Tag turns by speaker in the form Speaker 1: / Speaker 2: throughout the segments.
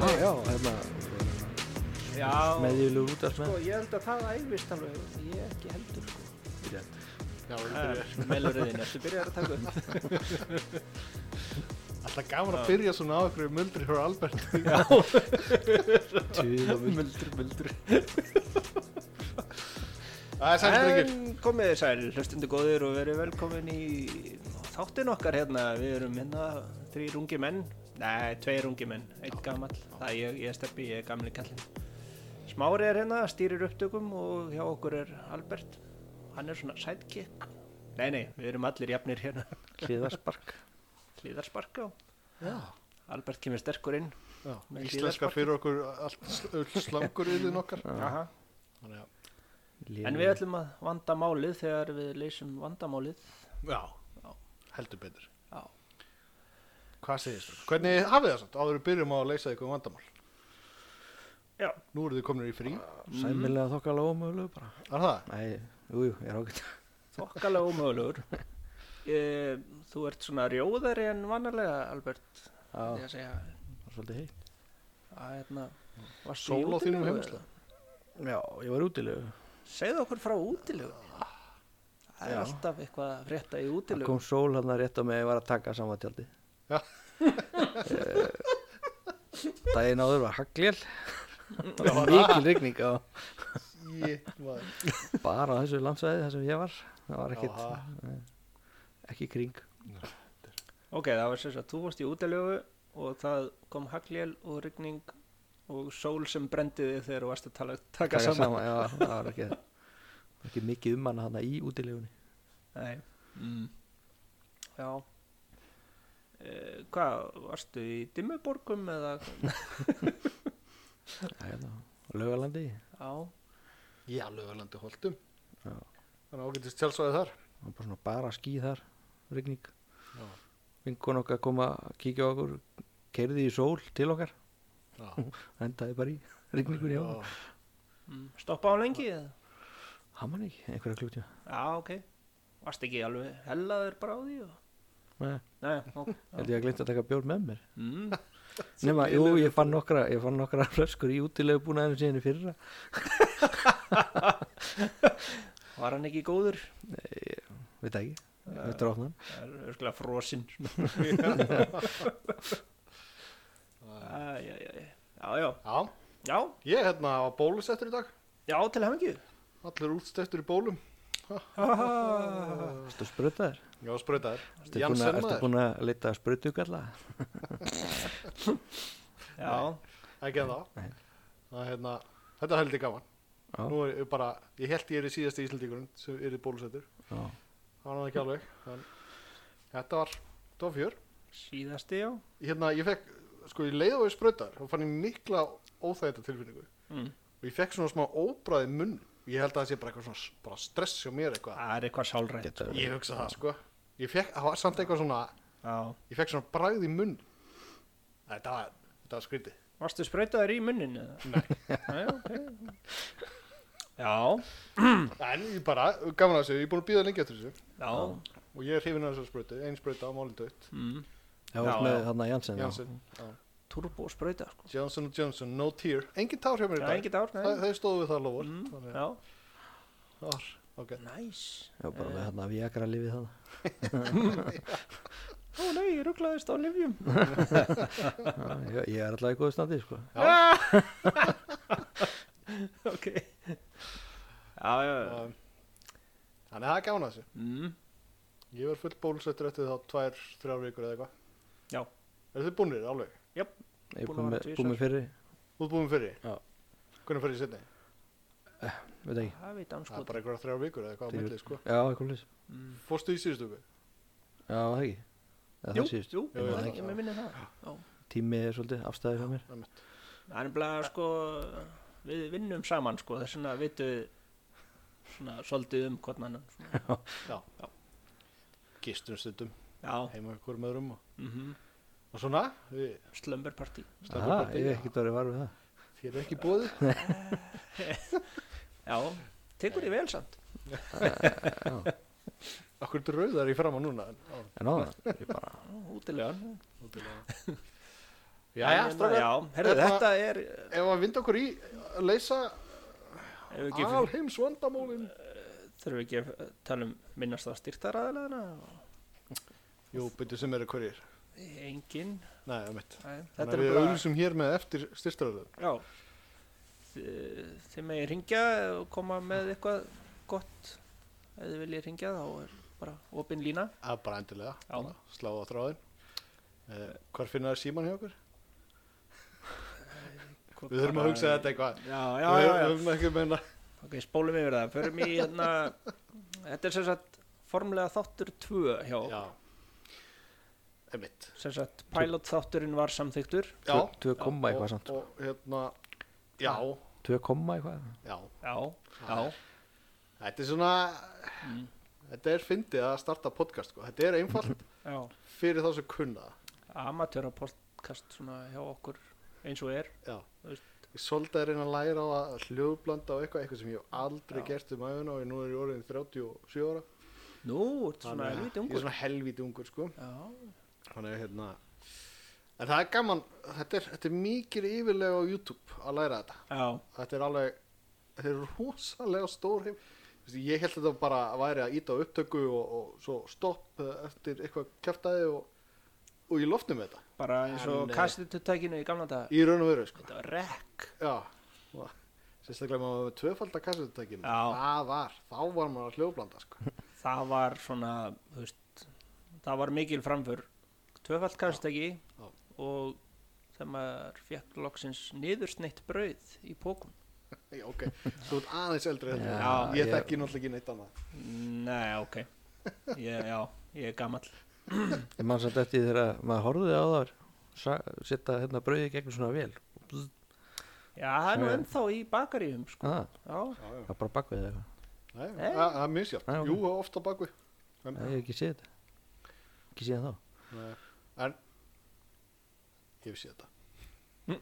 Speaker 1: ah, já, hérna
Speaker 2: Já,
Speaker 1: meðjulegur útdagsmenn
Speaker 2: sko, ég held að það æfist alveg, ég ekki heldur, sko. Eh.
Speaker 3: Já, ég byrja.
Speaker 2: Það er melurðin, ertu byrjar að taka upp?
Speaker 3: Alltaf gaman að byrja sko. svona á einhverju muldri frá Albert.
Speaker 1: Tuð og vill
Speaker 2: Muldur, muldur.
Speaker 3: Það er sætt drengir.
Speaker 2: En komið þið sæl, hlustundu góðir og verið velkomin í þáttin okkar hérna. Við erum hérna þrýr ungi menn, nei, tveir ungi menn, einn gamall. Það er ég, ég er steppi, ég er gamli kallinn. Smári er hérna, stýrir upptökum og hjá okkur er Albert. Hann er svona sidekick. Nei, nei, við erum allir jafnir hérna.
Speaker 1: hliðarspark
Speaker 2: Hlýðarsparka og
Speaker 3: Já.
Speaker 2: Albert kemur sterkur inn.
Speaker 3: Já.
Speaker 2: Með
Speaker 3: Íslenska
Speaker 2: hlíðarsparki.
Speaker 3: fyrir okkur allt slangur yfir okkar.
Speaker 2: Aha.
Speaker 3: Þannig að-
Speaker 2: En við ætlum að vanda málið þegar við leysum vandamálið.
Speaker 3: Já.
Speaker 2: Já.
Speaker 3: Heldur betur.
Speaker 2: Já.
Speaker 3: Hvað segir þú? Hvernig hafið það samt? Áður við byrjum á að leysa ykkur um vandamál.
Speaker 2: Já.
Speaker 3: Nú eru þið komin í frí.
Speaker 1: sæmilega þokkalega ómögulega bara
Speaker 3: Er það?
Speaker 1: nei, jú, jú, ég er ágætt
Speaker 2: Þokkalega ómögulegur e, Þú ert svona rjóðari en vanalega Albert
Speaker 1: já,
Speaker 2: Ég að segja
Speaker 1: var svolítið heitt
Speaker 2: að hérna varstu í
Speaker 3: Sól á þínum
Speaker 2: útilegu
Speaker 3: heimsla.
Speaker 1: já, ég var útilegu
Speaker 2: eða? Segðu okkur frá útilegu Það er
Speaker 1: Já.
Speaker 2: alltaf eitthvað að frétta í
Speaker 1: það
Speaker 2: útilegu
Speaker 1: kom sól hann rétt á mig ég var að taka saman tjaldi
Speaker 3: Já.
Speaker 1: daginn áður var haglél mikil rigning á
Speaker 3: Ég var...
Speaker 1: bara á þessu landsvæði þar sem ég var það var ekkit
Speaker 3: Jaha.
Speaker 1: nei, ekki í kring
Speaker 2: Ok, það var sem sagt, þú varst í útilegu og það kom haglél og rigning og sól sem brendi þig þegar þú varst að tala, taka,
Speaker 1: taka
Speaker 2: saman,
Speaker 1: saman, já, það var ekki, ekki mikið um hana hana í útilegunni
Speaker 2: Nei mm. Já e, Hvað, varstu í dimmuborgum eða
Speaker 1: Það er hérna, á laugalandi
Speaker 2: Já,
Speaker 3: Já, lögurlandi holdum.
Speaker 1: Já.
Speaker 3: Þannig ágættist tjálsvæði þar.
Speaker 1: það var bara svona bara ský þar rigning
Speaker 3: Já.
Speaker 1: vinkon okkar kom að kíkja á okkur keirði í sól til okkar
Speaker 3: Já.
Speaker 1: endaði bara í rigningur hjá okkur.
Speaker 2: Mm, Stoppa á lengi eða?
Speaker 1: hann man ekki einhverja klúti
Speaker 2: Já, ok. Varst ekki alveg hellaður bara á því? Og...
Speaker 1: held
Speaker 2: Nei, ok.
Speaker 1: ég að glemt að taka bjór með mér
Speaker 2: Mm.
Speaker 1: nema, jú, ég fann nokkra ég fann nokkra flöskur í útilegu búnaðinu síðan í fyrra
Speaker 2: Var hann ekki góður?
Speaker 1: veit það ekki, þetta er ofnan
Speaker 2: Það er örgulega frosinn. Æ, já, já, já, já,
Speaker 3: Já.
Speaker 2: já,
Speaker 3: Ég er hérna á bólusettur í dag.
Speaker 2: já, til hafingju.
Speaker 3: Allir útstættur í bólum.
Speaker 1: erstu sprutaður,
Speaker 3: Já, spröytaður.
Speaker 1: erstu búin, að- ertu búin að leita sprutugalla
Speaker 2: Já,
Speaker 3: ekki en þá það, hérna, þetta er heldur gaman
Speaker 1: Já.
Speaker 3: nú er ég bara, ég held ég er í síðasta Íslandíkurinn sem er í bólusettur
Speaker 1: Já.
Speaker 3: það var það ekki alveg en, þetta var, þetta var fjör
Speaker 2: síðasti, já.
Speaker 3: hérna, ég fekk, sko ég leiði á því sprautar þá fann ég mikla óþægita tilfinningu
Speaker 2: Mm.
Speaker 3: og ég fekk svona smá óbræði munn ég held að það sé bara eitthvað svona s- bara stress hjá mér eitthvað
Speaker 2: Það er eitthvað sálrænt.
Speaker 1: Getur-
Speaker 3: ég hugsa það sko ég fekk, það var samt eitthvað svona
Speaker 2: Já.
Speaker 3: ég fekk svona bræði munn þetta var, þetta var skrítið
Speaker 2: Varstu spröytaður í munnin eða?
Speaker 3: Nei.
Speaker 2: Nei, ok. Já,
Speaker 3: en ég bara, gaman að þessu, ég er búin að býða lengi eftir þessu
Speaker 2: já,
Speaker 3: og ég er hrifin af þessar sprautu, ein sprauta á málinn dött
Speaker 2: mm.
Speaker 1: það var
Speaker 2: Já,
Speaker 1: með
Speaker 2: já.
Speaker 1: hann að Janssen já.
Speaker 3: Johnson,
Speaker 2: turbo spröyta, sko.
Speaker 3: Johnson Johnson, no tear engin tár hjá mér í
Speaker 2: Já,
Speaker 3: dag,
Speaker 2: engin dár,
Speaker 3: Þa,
Speaker 2: nei.
Speaker 3: þau stóðu við það lofur
Speaker 2: Mm,
Speaker 3: þannig
Speaker 2: Já,
Speaker 3: að ár, ok
Speaker 2: næs. Nice.
Speaker 1: já, bara með hann að viagra lifið það
Speaker 2: Ó nei, ég rugglaðist á livjum
Speaker 1: Já, ég, ég er alltaf í góðu standi sko.
Speaker 3: já,
Speaker 2: Ok Já, já, já
Speaker 3: um, þannig að það er gaman að þessu
Speaker 2: mm.
Speaker 3: ég verð full bólusettur eftir þá tvær, þrjár vikur eða eitthvað
Speaker 2: Já.
Speaker 3: eru þið búinir alveg,
Speaker 1: ég
Speaker 2: Búin að
Speaker 1: búið
Speaker 2: vera
Speaker 1: með,
Speaker 2: tvisvar.
Speaker 1: búið með fyrri
Speaker 3: þú ert búin fyrir
Speaker 1: Já.
Speaker 3: hvernig fyrir setni,
Speaker 1: veit ekki,
Speaker 2: Það veit hann
Speaker 3: það
Speaker 2: sko
Speaker 3: er bara einhverja þrjár vikur eða eitthvað á
Speaker 1: Þrjú.
Speaker 3: millið sko
Speaker 1: já, eitthvað leys
Speaker 2: mm.
Speaker 3: fórstu í síðustu viku,
Speaker 1: já, það ekki, eða
Speaker 2: Jú,
Speaker 1: það síðust
Speaker 2: jú,
Speaker 3: Jú,
Speaker 2: ég man
Speaker 3: já.
Speaker 2: ekki með minni það Já.
Speaker 1: tími er svolítið afstæði hjá mér
Speaker 2: Það er nefnilega sko Við vinnum saman sko Þess vegna vitum við Svona svolítið um hvort mann svona.
Speaker 3: gistum stundum
Speaker 2: Já,
Speaker 3: heima ykkur með rum og,
Speaker 2: mm
Speaker 3: og svona við,
Speaker 2: slumber party
Speaker 3: Stöðum
Speaker 1: Aha,
Speaker 3: partí.
Speaker 1: ég hef ekkert orðið var við það
Speaker 3: þér er ekki bóði
Speaker 2: Já, tekur því vel samt
Speaker 3: okkur drauðar í fram á núna en,
Speaker 1: en áðan, ég bara
Speaker 2: Útilegan
Speaker 3: Ótrúlega. Jæja,
Speaker 2: En,
Speaker 3: strákar,
Speaker 2: Já, herru,
Speaker 3: hérna-
Speaker 2: þetta er
Speaker 3: Ef að vinda okkur í að leysa
Speaker 2: Ef við ekki,
Speaker 3: alheims vandamólin
Speaker 2: þurfum við ekki að tala um minnast á styrtaraðilegana
Speaker 3: Jú, byrju sem eru hverjir
Speaker 2: Engin
Speaker 3: Nei, um mitt
Speaker 2: Nei, Þetta
Speaker 3: Þannig
Speaker 2: er
Speaker 3: að við
Speaker 2: bara
Speaker 3: auðlýsum hér með eftir styrstaræðum
Speaker 2: Já Þi- Þið megið ringja og koma með eitthvað gott Ef þið viljið ringja þá er bara opin lína
Speaker 3: Það er bara endilega,
Speaker 2: Já.
Speaker 3: bara sláða á þráðin uh, Hvar finna það síman hjá okkur? Við þurfum að hugsa þetta eitthvað
Speaker 2: Já, já, já,
Speaker 3: Við- Við
Speaker 2: já.
Speaker 3: höfum ekki að menna
Speaker 2: Ok, spólum yfir það Förum í hérna Þetta er sem sagt formlega þáttur 2 hjá okkur.
Speaker 3: Já Einmitt
Speaker 2: sem sagt pilot þátturinn var samþyktur
Speaker 3: Já
Speaker 1: Tvö- tvö komma
Speaker 3: og-
Speaker 1: eitthvað samt.
Speaker 3: Og hérna Já,
Speaker 1: 2,0 eitthvað
Speaker 3: já
Speaker 2: já, já,
Speaker 3: Þetta er svona
Speaker 2: Mm.
Speaker 3: Þetta er fyndið að starta podcast sko. Þetta er einfalt
Speaker 2: já
Speaker 3: fyrir þá sem kunna það.
Speaker 2: amatöra podcast svona hjá okkur eins og er
Speaker 3: Já
Speaker 2: Þú veist.
Speaker 3: Ég svolítið að reyna að læra á að hljóðblanda á eitthvað, eitthvað sem ég hef aldrei
Speaker 2: Já.
Speaker 3: gert um aðeina og nú er ég orðin 37 ára.
Speaker 2: nú, ertu svona
Speaker 3: Þannig að-
Speaker 2: helviti
Speaker 3: Ég er
Speaker 2: ungur
Speaker 3: svona helviti ungur sko.
Speaker 2: já,
Speaker 3: Þannig að hérna En það er gaman, þetta er, þetta er mikið yfirlega á YouTube að læra þetta
Speaker 2: já,
Speaker 3: Þetta er alveg, þetta er rosalega stór heim Þú veist, Ég held að þetta bara væri að íta á upptöku og, og svo stopp eh, eftir eitthvað kjartaði og, og ég lofnum með þetta
Speaker 2: bara eins og
Speaker 3: En, eh,
Speaker 2: kastitutækinu í gamla dag
Speaker 3: Í raun og veru sko
Speaker 2: þetta var rekk
Speaker 3: Já og Sérstaklega maður var með tvöfaldar kassutækinu
Speaker 2: Já.
Speaker 3: Það var, þá var maður að hljóðblanda sko
Speaker 2: það var svona, þú veist það var mikil framför tvöfald kastutæki
Speaker 3: Já.
Speaker 2: og þegar maður fekk loksins niðursneitt brauð í pókum
Speaker 3: Já, ok, þú ert aðeins eldri heldur en
Speaker 2: Já,
Speaker 3: ég, ég
Speaker 1: ég-
Speaker 3: þekki náttúrulega ekki neitt annað
Speaker 2: nei, ok ég, já, ég er gamall
Speaker 1: Ég man samt eftir því þegar maður horfði á þar sa- setja hérna brauðið gegnum svona vel
Speaker 2: já, það er nú
Speaker 1: Já.
Speaker 2: ennþá í bakaríum sko.
Speaker 1: ah,
Speaker 2: já,
Speaker 3: Já, já
Speaker 1: Það er bara bakveið eitthvað
Speaker 3: Nei,
Speaker 2: Nei. Ah,
Speaker 3: það það er misjátt.
Speaker 1: Nei, ok.
Speaker 3: Jú, ofta bakvið. En,
Speaker 1: Ég hef ekki séð þetta Ekki séð það þá
Speaker 3: nei, en ég hef séð þetta.
Speaker 2: Hm.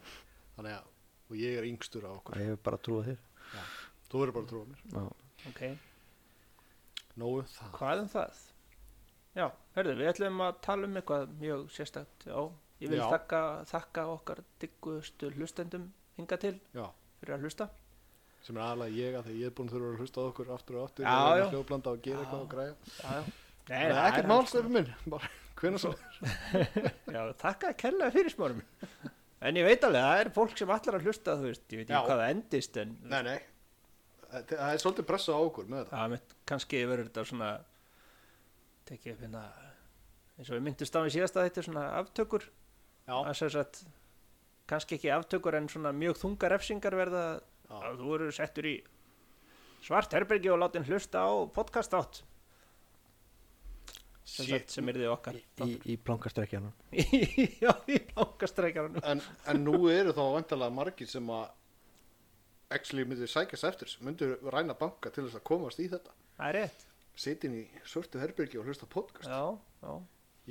Speaker 3: Þannig að, og ég er yngstur á okkur.
Speaker 1: Ég hef bara trúið þér
Speaker 3: Þú verður bara að trúa mér.
Speaker 1: Já.
Speaker 2: ok
Speaker 3: Nóu það.
Speaker 2: hvað um það? já, herðu, við ætlum að tala um eitthvað mjög sérstakt, já ég vil
Speaker 3: Já.
Speaker 2: þakka, þakka okkar diggustu hlustendum hinga til
Speaker 3: Já,
Speaker 2: fyrir að hlusta
Speaker 3: sem er aðalega ég að þegar ég er búinn að þurfa að hlusta á okkur aftur og aftur.
Speaker 2: Já, já.
Speaker 3: Hljóðblanda og gera eitthvað og græja.
Speaker 2: já, já. Nei,
Speaker 3: Það er
Speaker 2: það
Speaker 3: ekkert
Speaker 2: er- sko-
Speaker 3: mál, stefið minn. Bara, hvenær svo? sko.
Speaker 2: já, þakka kærlega fyrir smárum en ég veit alveg, það er fólk sem allar að hlusta þú veist, ég veit
Speaker 3: Já.
Speaker 2: ekki hvað það endist en
Speaker 3: Nei, nei. Þetta- Það er svolítið pressa á okkur með þetta.
Speaker 2: það mitt, kannski verður þetta svona tekið upp hérna eins og við myndist á í síðasta þetta svona aftökur
Speaker 3: Já,
Speaker 2: að sem sagt kannski ekki aftökur en svona mjög þungar refsingar verða
Speaker 3: já.
Speaker 2: að þú eru settur í svart herbergi og látin hlusta á podcast átt sem, sagt,
Speaker 3: Shit.
Speaker 2: sem er þið okkar
Speaker 1: Í, í plankastrekkjanum
Speaker 2: já, í ákastreikarunum
Speaker 3: En, en nú eru þá vantarlega margir sem að actually myndu sækjast eftir, myndu ræna banka til þess að komast í þetta.
Speaker 2: það er rétt
Speaker 3: sitin í svörtu herbyrgi og hlusta á podcast
Speaker 2: já, já,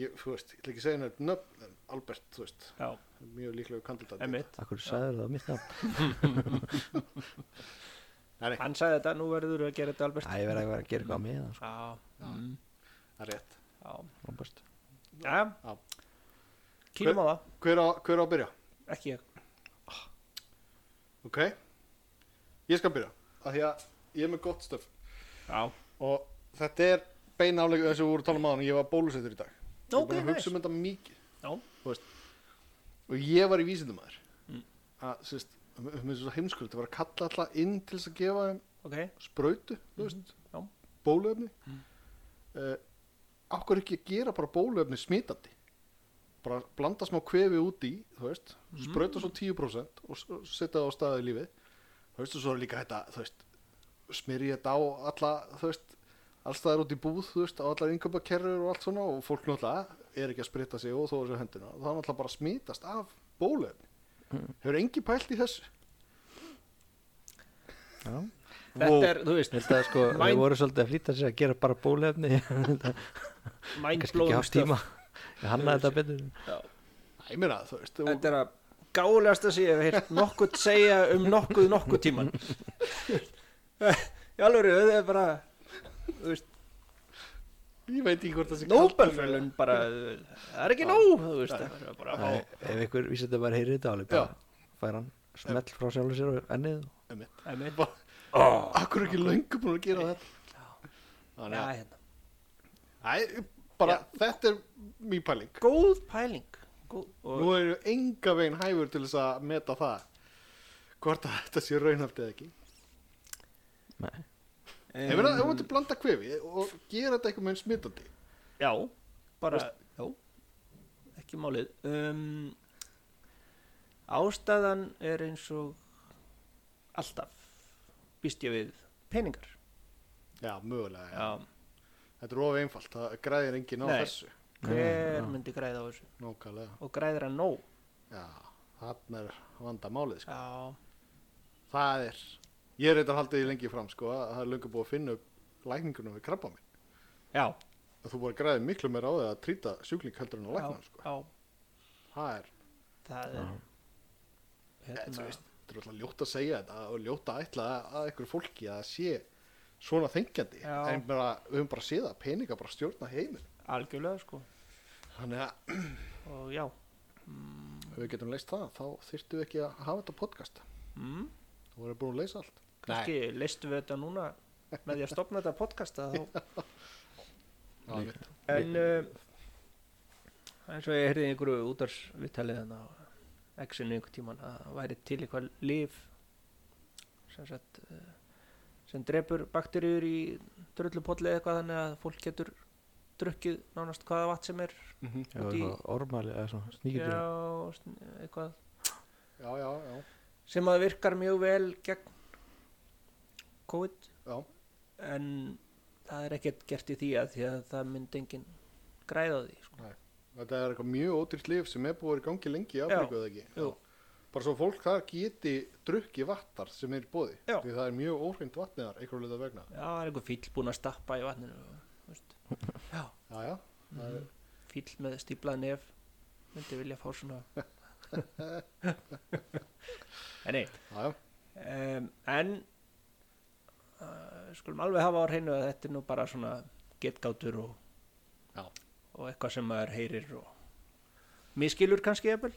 Speaker 3: ég, þú veist, ég ætla ekki að segja nefn nöfn en Albert, þú veist,
Speaker 2: já,
Speaker 3: mjög líklega kandidat
Speaker 2: emmitt
Speaker 1: Akkur sagður það á mitt nafn
Speaker 3: nei, nei,
Speaker 2: hann sagði þetta, nú verður þú að gera þetta Albert
Speaker 1: Æ, ég verði að vera að gera eitthvað með það sko.
Speaker 2: já, mm,
Speaker 3: það er rétt
Speaker 2: já,
Speaker 1: Það er best.
Speaker 2: já. kýlum á það,
Speaker 3: hver á, hver á að byrja,
Speaker 2: ekki ég
Speaker 3: ok ég skal byrja, af því að ég er með gott stöf
Speaker 2: já,
Speaker 3: og þetta er beina aflega eins og við vorum að tala um aðan, ég var bólusettur í dag ég
Speaker 2: Ok,
Speaker 3: er búin að
Speaker 2: nice.
Speaker 3: hugsa um þetta mikið
Speaker 2: já,
Speaker 3: og ég var í vísindumæður
Speaker 2: Mm.
Speaker 3: að, þú veist, um, mér er svo heimskult það var að kalla alla inn til þess að gefa þeim
Speaker 2: ok
Speaker 3: sprautu, þú veist,
Speaker 2: Mhm, já. Mhm.
Speaker 3: bóluefni mm. uh, okkur ekki að gera bara bóluefni smitandi bara blanda smá kvefi út í þú veist,
Speaker 2: Mhm.
Speaker 3: sprauta svo 10% og s- og setja það á staðið lífið þú veist, og svo er líka þetta, þú veist smyrja þetta á alla, þú veist allstaðar út í búð, þú veist, á allar yngöpakerrur og allt svona og fólk náttúrulega er ekki að sprita sig og þó þessu hendina og það er náttúrulega bara smitast af bóluefni
Speaker 2: Mhm.
Speaker 3: hefur engi pælt í þessu
Speaker 1: Já.
Speaker 3: Wow.
Speaker 2: þetta er, þú
Speaker 1: Ég
Speaker 2: veist,
Speaker 1: held að sko,
Speaker 2: Mind-
Speaker 1: þau voru svolítið að flýta sér að gera bara bólefni Kannski ekki
Speaker 2: mindblowing
Speaker 1: haft tíma Ég hannaði þetta betur
Speaker 2: Já.
Speaker 3: Æ, ég meina, þú veist, og,
Speaker 2: þetta er að gálegasta sem ég hef heyrt nokkuð segja um nokkuð nokkuð tíman í alveg, það er bara þú veist
Speaker 3: Ég veit ekki hvort það sé
Speaker 2: Nobelfjölun bara, það er ekki nóg, þú veist, það er bara að
Speaker 1: Æ,
Speaker 2: fá
Speaker 1: ef einhver vísindar bara heyrir þetta alveg bara fær hann smell frá sjálfur sér og ennið
Speaker 2: Einmitt.
Speaker 3: Akkur ekki löngu búin að gera þetta
Speaker 2: Já,
Speaker 3: Þannig að
Speaker 2: hérna.
Speaker 3: Æ, bara, þetta er mjög pæling
Speaker 2: Góð pæling Góð, og,
Speaker 3: Nú eru enga veginn hæfur til þess að meta það Hvort að þetta sé raunhæft eða ekki
Speaker 1: Nei.
Speaker 3: Ef við erum að blanda kvefi og gera þetta eitthvað með smitandi
Speaker 2: Já, bara já, Ekki málið um, Ástæðan er eins og alltaf býst ég við peningar
Speaker 3: Já, mögulega, já.
Speaker 2: Já,
Speaker 3: Þetta er of einfalt, það græðir enginn á
Speaker 2: Nei.
Speaker 3: þessu
Speaker 2: hver
Speaker 1: Já, já.
Speaker 2: myndi græða á þessu
Speaker 3: Nókalega,
Speaker 2: og græðir hann nóg
Speaker 3: já, þarna er vandamálið sko.
Speaker 2: Já,
Speaker 3: Það er, ég er eitthvað haldið í lengi fram sko, að það er löngu búið að finna upp lækningunum við krabba minn
Speaker 2: já,
Speaker 3: að þú bara græðir miklu meira á því að trýta sjúkling heldur en að
Speaker 2: já,
Speaker 3: lækna hann sko.
Speaker 2: já
Speaker 3: Það er,
Speaker 2: það er
Speaker 3: Þetta, þú
Speaker 2: hérna,
Speaker 3: veist, þetta er alltaf ljótt að segja þetta og ljótt að ætla að- að einhverju fólki að það sé svona þengjandi
Speaker 2: Já.
Speaker 3: en bara, við höfum bara séð að peninga bara stjórna heimin
Speaker 2: algjörlega sko
Speaker 3: þannig að
Speaker 2: og já
Speaker 3: ef við getum leist það þá þyrftum við ekki að hafa þetta podcast
Speaker 2: mm,
Speaker 3: þú verður búin að leysa allt
Speaker 2: kannski leistum við þetta núna með því að stopna þetta podcasta þá
Speaker 3: Já,
Speaker 1: Nei.
Speaker 3: mitt.
Speaker 2: En uh, eins og ég heyrði í einhverju útarsvittalið þannig á X-inu einhver tíman að það væri til eitthvað líf sem sagt uh, sem drepur bakteríur í drullupolli eða eitthvað þannig að fólk getur drukkið nánast hvaða vatn sem er
Speaker 1: Já,
Speaker 2: Út í-
Speaker 1: eitthvað ormali eða svona sníkjur
Speaker 2: já, sn- eitthvað
Speaker 3: já, já, já,
Speaker 2: sem að virkar mjög vel gegn COVID
Speaker 3: já.
Speaker 2: en það er ekkert gert í því að því að það myndi engin græða á því sko.
Speaker 3: þetta er eitthvað mjög ótrýtt lif sem er búið að vera í gangi lengi í Afríku eða ekki
Speaker 2: Jú.
Speaker 3: bara svo fólk þar geti drukki vattar sem er í bóði
Speaker 2: Já.
Speaker 3: því það er mjög óhrind vatniðar einhverju leita vegna
Speaker 2: Já, það er einhver fíll búinn að stappa í vatninu og, þú veist. Já,
Speaker 3: já, já, það er
Speaker 2: fíll með stíplað nef myndi vilja fá svona En nei
Speaker 3: já, já,
Speaker 2: um, En uh, skulum alveg hafa á hreinu að þetta er nú bara svona getgátur og,
Speaker 3: Já.
Speaker 2: og eitthvað sem maður heyrir og miskilur kannski eða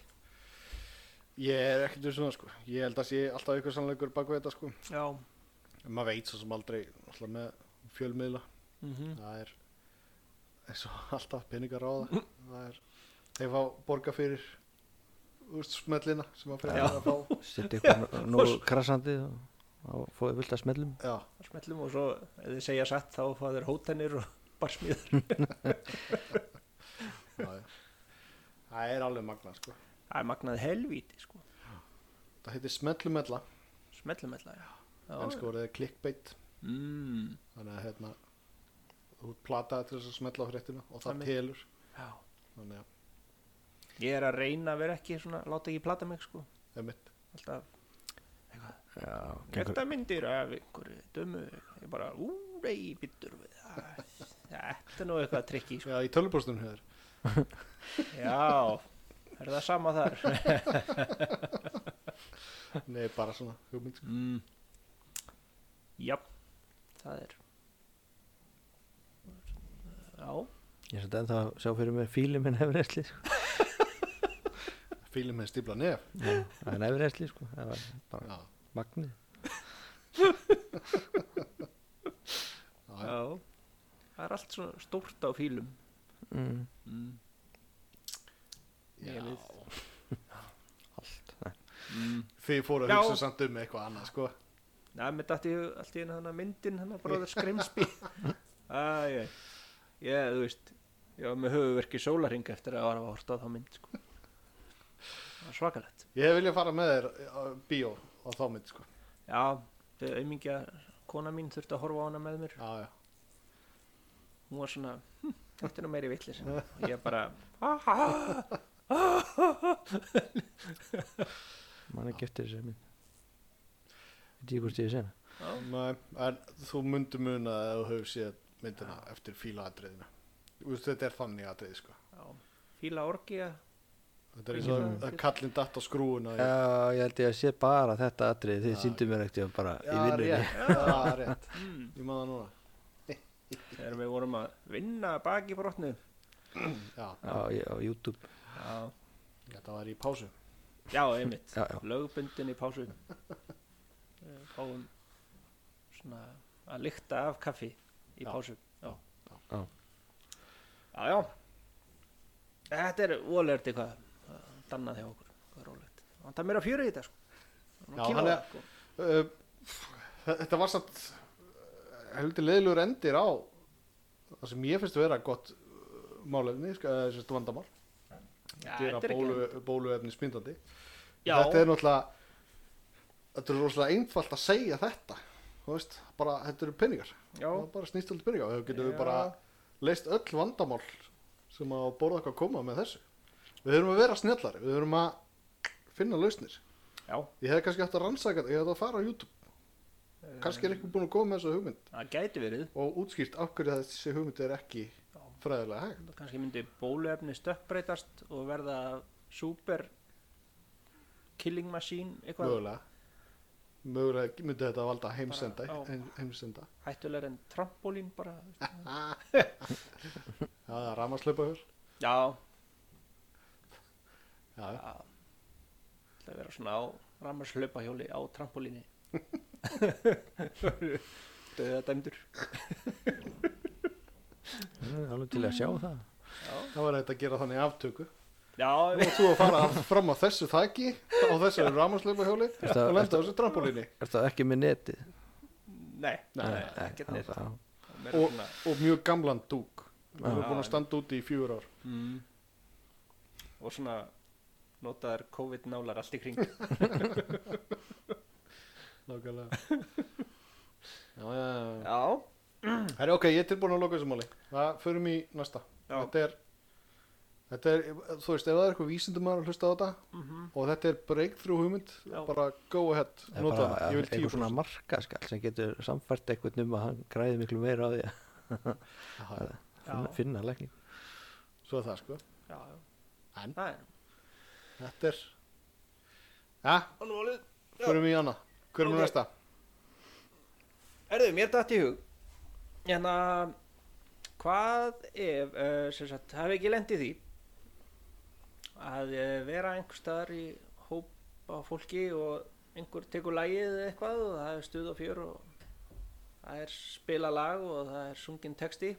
Speaker 3: ég er ekkert um svona sko ég held að sé alltaf ykkur sannleikur bak við þetta sko
Speaker 2: Já
Speaker 3: En maður veit svo sem aldrei alltaf með fjölmiðla
Speaker 2: mm
Speaker 3: það er eins og alltaf peningar á það það er, þeir fá borga fyrir úrst smellina sem að fyrir
Speaker 2: Já.
Speaker 3: að fá
Speaker 1: setja eitthvað nú krassandi og þá fóði vilt að smellum
Speaker 3: já,
Speaker 2: Smellum og svo ef þið segja satt þá fá þeir hótanir og barsmíður
Speaker 3: já, já. það er alveg magna sko
Speaker 2: Það er magnaði helvíti sko
Speaker 3: það heitir smellumella
Speaker 2: Smellum ætla, já. já
Speaker 3: en sko voru þeir clickbait
Speaker 2: mm,
Speaker 3: þannig að hérna þú ert plataði til þess að smella á fréttina og það
Speaker 2: Þannig.
Speaker 3: telur
Speaker 2: já.
Speaker 3: þannig
Speaker 2: Ég er að reyna að vera ekki svona, láta ekki plata mig sko
Speaker 3: að emitt
Speaker 2: Alltaf,
Speaker 1: já, gengur,
Speaker 2: þetta myndir af einhverju dömu Ég bara, ú, rey, byttur við það Þetta er nú eitthvað trikki sko
Speaker 3: já, í tölvupóstunum hefur
Speaker 2: Já, er það sama þar
Speaker 3: nei, bara svona hugmynd sko.
Speaker 2: mm. Já, það er Já,
Speaker 1: ég seti ennþá að sjá fyrir mér fíli minn efriðsli sko.
Speaker 3: fílum með stíbla nef
Speaker 1: Já, það er efriðsli sko. það var bara
Speaker 3: já,
Speaker 1: magnið
Speaker 3: já, já.
Speaker 2: já Það er allt svona stórt á fílum
Speaker 1: mm.
Speaker 2: mm.
Speaker 3: já.
Speaker 2: Nefið.
Speaker 1: allt Nei.
Speaker 2: Mm.
Speaker 3: þið fóru að
Speaker 2: Já.
Speaker 3: hugsa samt um eitthvað annað sko
Speaker 2: Næ, mér dætti allt í henni hana myndin hana bróður Skrimsby Æ, ég, ég, þú veist ég var með höfuverki sólaring eftir að vara að horta á þá mynd sko. Það var svakalegt
Speaker 3: Ég hef viljað fara með þér á bíó á þá mynd sko.
Speaker 2: Já, þau aumingja kona mín þurfti að horfa á hana með mér
Speaker 3: Já, já.
Speaker 2: hún var svona, hm, þetta er nú meiri villis og ég bara "Ah, ah,
Speaker 1: mann ekki eftir þessu minn veit ég hvort ég sé hana
Speaker 2: ah."
Speaker 3: Nei, en þú myndur muna að þú hefur séð myndina eftir fílaatriðina. Þú veist, Þetta er þannig atrið sko.
Speaker 2: Já, fíla orgið
Speaker 3: Þetta er eins og
Speaker 2: Mhm.
Speaker 3: að kallin datt á skrúuna. í-
Speaker 1: já, ég held ég að sé bara þetta atrið þið
Speaker 3: Já.
Speaker 1: sýndu mér ekkert bara í
Speaker 3: Já,
Speaker 1: vinnunni
Speaker 3: rétt. Já, rétt.
Speaker 2: mm.
Speaker 3: Ég man það núna.
Speaker 2: þegar við vorum að vinna baki brotnu
Speaker 3: já,
Speaker 1: á, á YouTube
Speaker 2: já,
Speaker 3: þetta var í pásu
Speaker 2: já einmitt
Speaker 1: já, já.
Speaker 2: lögbundin í pásu Eh, fáum svona að lykta af kaffi í
Speaker 3: Já.
Speaker 2: pásu já,
Speaker 1: Já.
Speaker 2: já, já. þetta er volert eitthvað eh, dannað hjá okkur Hvað er rólegt. vantar meira fjöru í þetta sko.
Speaker 3: Já,
Speaker 2: Kíla á
Speaker 3: hann
Speaker 2: það,
Speaker 3: er-
Speaker 2: sko.
Speaker 3: uh, þetta var samt uh, heldur leiðilegur endir á það sem ég finnst að vera gott uh, málefni, sko, eða þessi vandamál
Speaker 2: Já,
Speaker 3: gera
Speaker 2: þetta er ekki-
Speaker 3: bólu, bóluefni smyndandi
Speaker 2: Já.
Speaker 3: þetta er náttúrulega þetta er rosalega einfalt að segja þetta þú veist, bara þetta eru peningar
Speaker 2: Já.
Speaker 3: það er bara snýst aldrei peningar þá getum við
Speaker 2: Já.
Speaker 3: bara leist öll vandamál sem að borða eitthvað að koma með þessu við höfum að vera snjallari, við höfum að finna lausnir
Speaker 2: já,
Speaker 3: ég hefði kannski haft að rannsaka þetta, ég hefði átt að fara á YouTube
Speaker 2: Eh,
Speaker 3: kannski er eitthvað búin að koma með þessu hugmynd
Speaker 2: það gæti verið
Speaker 3: og útskýrt af hverju þessi hugmynd er ekki fræðilega hægt
Speaker 2: kannski myndi bóluefni stökkbreytast og verða super killing machine eitthvað
Speaker 3: mögulega mögulega myndi þetta valda
Speaker 2: Bara,
Speaker 3: heimsenda,
Speaker 2: já.
Speaker 3: heim, heimsenda.
Speaker 2: hættulegur en trampolín bara þú veist.
Speaker 3: það er ramaslaupa
Speaker 2: já,
Speaker 3: Já,
Speaker 2: já það vera svona á rammarslaupahjóli á trampolíni döða dæmdur
Speaker 1: Mm, alveg til að sjá það
Speaker 3: það var þetta að gera þannig aftöku
Speaker 2: já,
Speaker 3: og þú að fara af- fram á þessu þæki á þessu rámaslaupa hjóli
Speaker 1: Ertu að-
Speaker 3: og lenda á þessu trampolíni
Speaker 1: er það ekki með netið
Speaker 2: nei, nei,
Speaker 3: Nei,
Speaker 2: ekkert
Speaker 1: já,
Speaker 2: neitt
Speaker 1: já.
Speaker 2: Meira
Speaker 3: og,
Speaker 2: svona-
Speaker 3: og mjög gamlan dúk við erum
Speaker 2: Já.
Speaker 3: búin að standa úti í fjúur ár
Speaker 2: mm, og svona notaðar COVID nálar allt í kring
Speaker 3: Nákvæmlega Já, já, já
Speaker 2: já,
Speaker 3: Herri, ok, ég er tilbúin að loka þessu máli Það förum í næsta
Speaker 2: Já.
Speaker 3: Þetta er Þetta er, þú veist, ef það er eitthvað vísindumar að hlusta á þetta
Speaker 2: mhm,
Speaker 3: og þetta er breakthrough hugmynd
Speaker 2: Já.
Speaker 3: bara go ahead,
Speaker 1: Það er
Speaker 3: nota
Speaker 1: bara
Speaker 3: hana, ég vil tíu
Speaker 1: eitthvað svona markaskall sem getur samfært eitthvað um að hann græði miklu meira á því að
Speaker 3: svona
Speaker 1: finna,
Speaker 2: já,
Speaker 1: finna lækning
Speaker 3: Svo er það, sko
Speaker 2: já,
Speaker 3: En?
Speaker 2: það er
Speaker 3: Þetta er Já,
Speaker 2: alveg volið
Speaker 3: förum í annað Hver er
Speaker 2: Ok.
Speaker 3: okay. næsta?
Speaker 2: Erðu, mér datt í hug Hérna Hvað ef uh, sem sagt, hafi ekki lent í því að uh, vera einhver staðar í hóp á fólki og einhver tekur lagið eða eitthvað og það er stuð og fjör og það er spila lag og það er sungin texti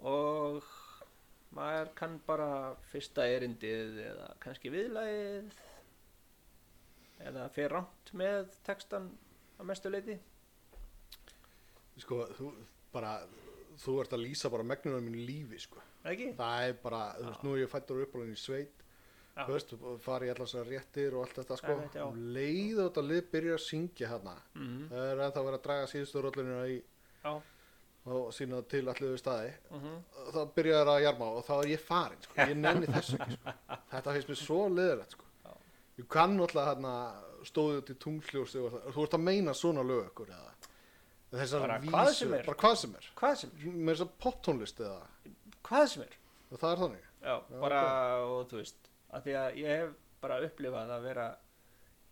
Speaker 2: og maður kann bara fyrsta erindið eða kannski viðlagið eða fer rámt með textan að mestu leiti
Speaker 3: Sko, þú bara þú ert að lýsa bara megnunum mínu lífi, sko
Speaker 2: ekki?
Speaker 3: það er bara, þú veist, nú er ég fættur uppalinn í sveit
Speaker 2: Já.
Speaker 3: þú veist, fari ég allas að réttir og allt þetta, sko
Speaker 2: Einmitt, já.
Speaker 3: um leið og þetta lið byrja að syngja hérna
Speaker 2: Mhm.
Speaker 3: það er ennþá verið að draga síðustu rollunina í
Speaker 2: Já,
Speaker 3: og sína til allir við staði
Speaker 2: mhm,
Speaker 3: þá byrja það að jarma og þá er ég farin sko. ég nenni þessu ekki, sko. þetta finnst mér svo leðilegt sko.
Speaker 2: Já.
Speaker 3: ég kann náttúrulega hérna stóðu út í tungljósi og það, þú ert að meina svona lög ykkur eða þessar
Speaker 2: Bara
Speaker 3: vísur,
Speaker 2: hvað sem er.
Speaker 3: bara hvað sem er
Speaker 2: hvað sem er,
Speaker 3: með þessar poptónlist eða
Speaker 2: hvað sem er
Speaker 3: og það er þannig
Speaker 2: Já, bara, og þú veist að því að ég hef bara upplifað að vera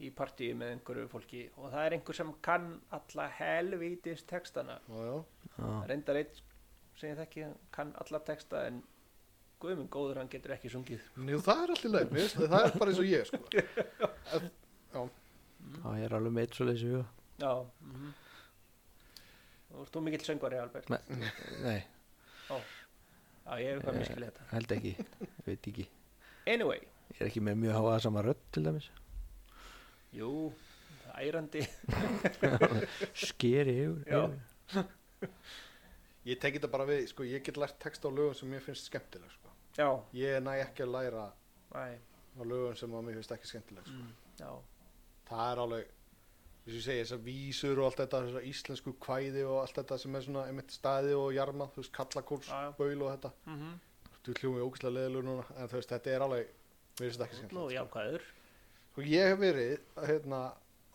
Speaker 2: í partíu með einhverju fólki og það er einhver sem kann alla helvítis textana
Speaker 3: já, já.
Speaker 1: Já.
Speaker 2: reyndar einn sem ég þekki hann kann alla texta en guðminn góður hann getur ekki sungið
Speaker 3: Njú, það er allir leið, mér finnst- það er bara eins og ég sko.
Speaker 1: Já, ég er alveg meitt svo leysi við
Speaker 2: Já, mhm Þú ert þú mikill söngvari, Albert
Speaker 1: Nei,
Speaker 2: Já, ég hef
Speaker 1: Eh.
Speaker 2: eitthvað miskilið þetta
Speaker 1: held ekki, ég veit ekki
Speaker 2: Anyway,
Speaker 1: Ég er ekki með mjög háa sama rödd til dæmis
Speaker 2: jú, ærandi
Speaker 1: Skeri yfir,
Speaker 2: Já.
Speaker 1: yfir.
Speaker 3: ég teki þetta bara við, sko, ég get lært text á lögum sem mér finnst skemmtileg sko.
Speaker 2: Já,
Speaker 3: ég næ ekki að læra á
Speaker 2: næ,
Speaker 3: lögum sem að mér finnst ekki skemmtileg sko.
Speaker 2: mm, já
Speaker 3: það er alveg þess að ég segi, þessar vísur og allt þetta þessar íslensku kvæði og allt þetta sem er svona einmitt staði og jarma, þú veist, kallakóls
Speaker 2: Já, já.
Speaker 3: baul og þetta,
Speaker 2: mhm
Speaker 3: þú hljóðum ég ógæslega leðilur núna, en þú veist, þetta er alveg mér finnst þetta ekki
Speaker 2: Nú,
Speaker 3: skemmtilegt
Speaker 2: jákvæður.
Speaker 3: sko, ég hef verið hérna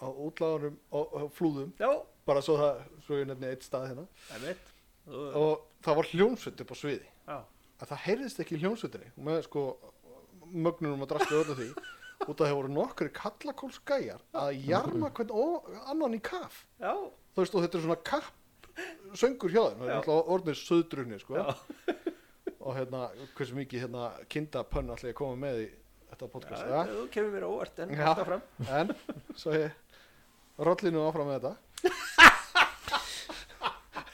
Speaker 3: á útlagunum og og flúðum
Speaker 2: Já,
Speaker 3: bara svo það, svo ég nefni eitt stað hérna
Speaker 2: einmitt. Þú,
Speaker 3: og það var hljómsveit upp á sviði
Speaker 2: já,
Speaker 3: að það heyrðist ekki í hljómsveitinni og með sko mögnunum að drastu öllu því út að það voru nokkri kallakólsgæjar að jarma hvern ó, annan í kaf
Speaker 2: já,
Speaker 3: þú veist og þetta er svona kapp söngur hjá þeim, það er
Speaker 2: Já.
Speaker 3: alltaf orðnir söðdrunni sko.
Speaker 2: Já.
Speaker 3: og hérna, hversu mikið hérna, kindapönn alltaf ég að koma með í þetta podcast
Speaker 2: Já, þú kemur mér á óvart en
Speaker 3: Já.
Speaker 2: alltaf fram
Speaker 3: ja. en svo ég rolli nú áfram með þetta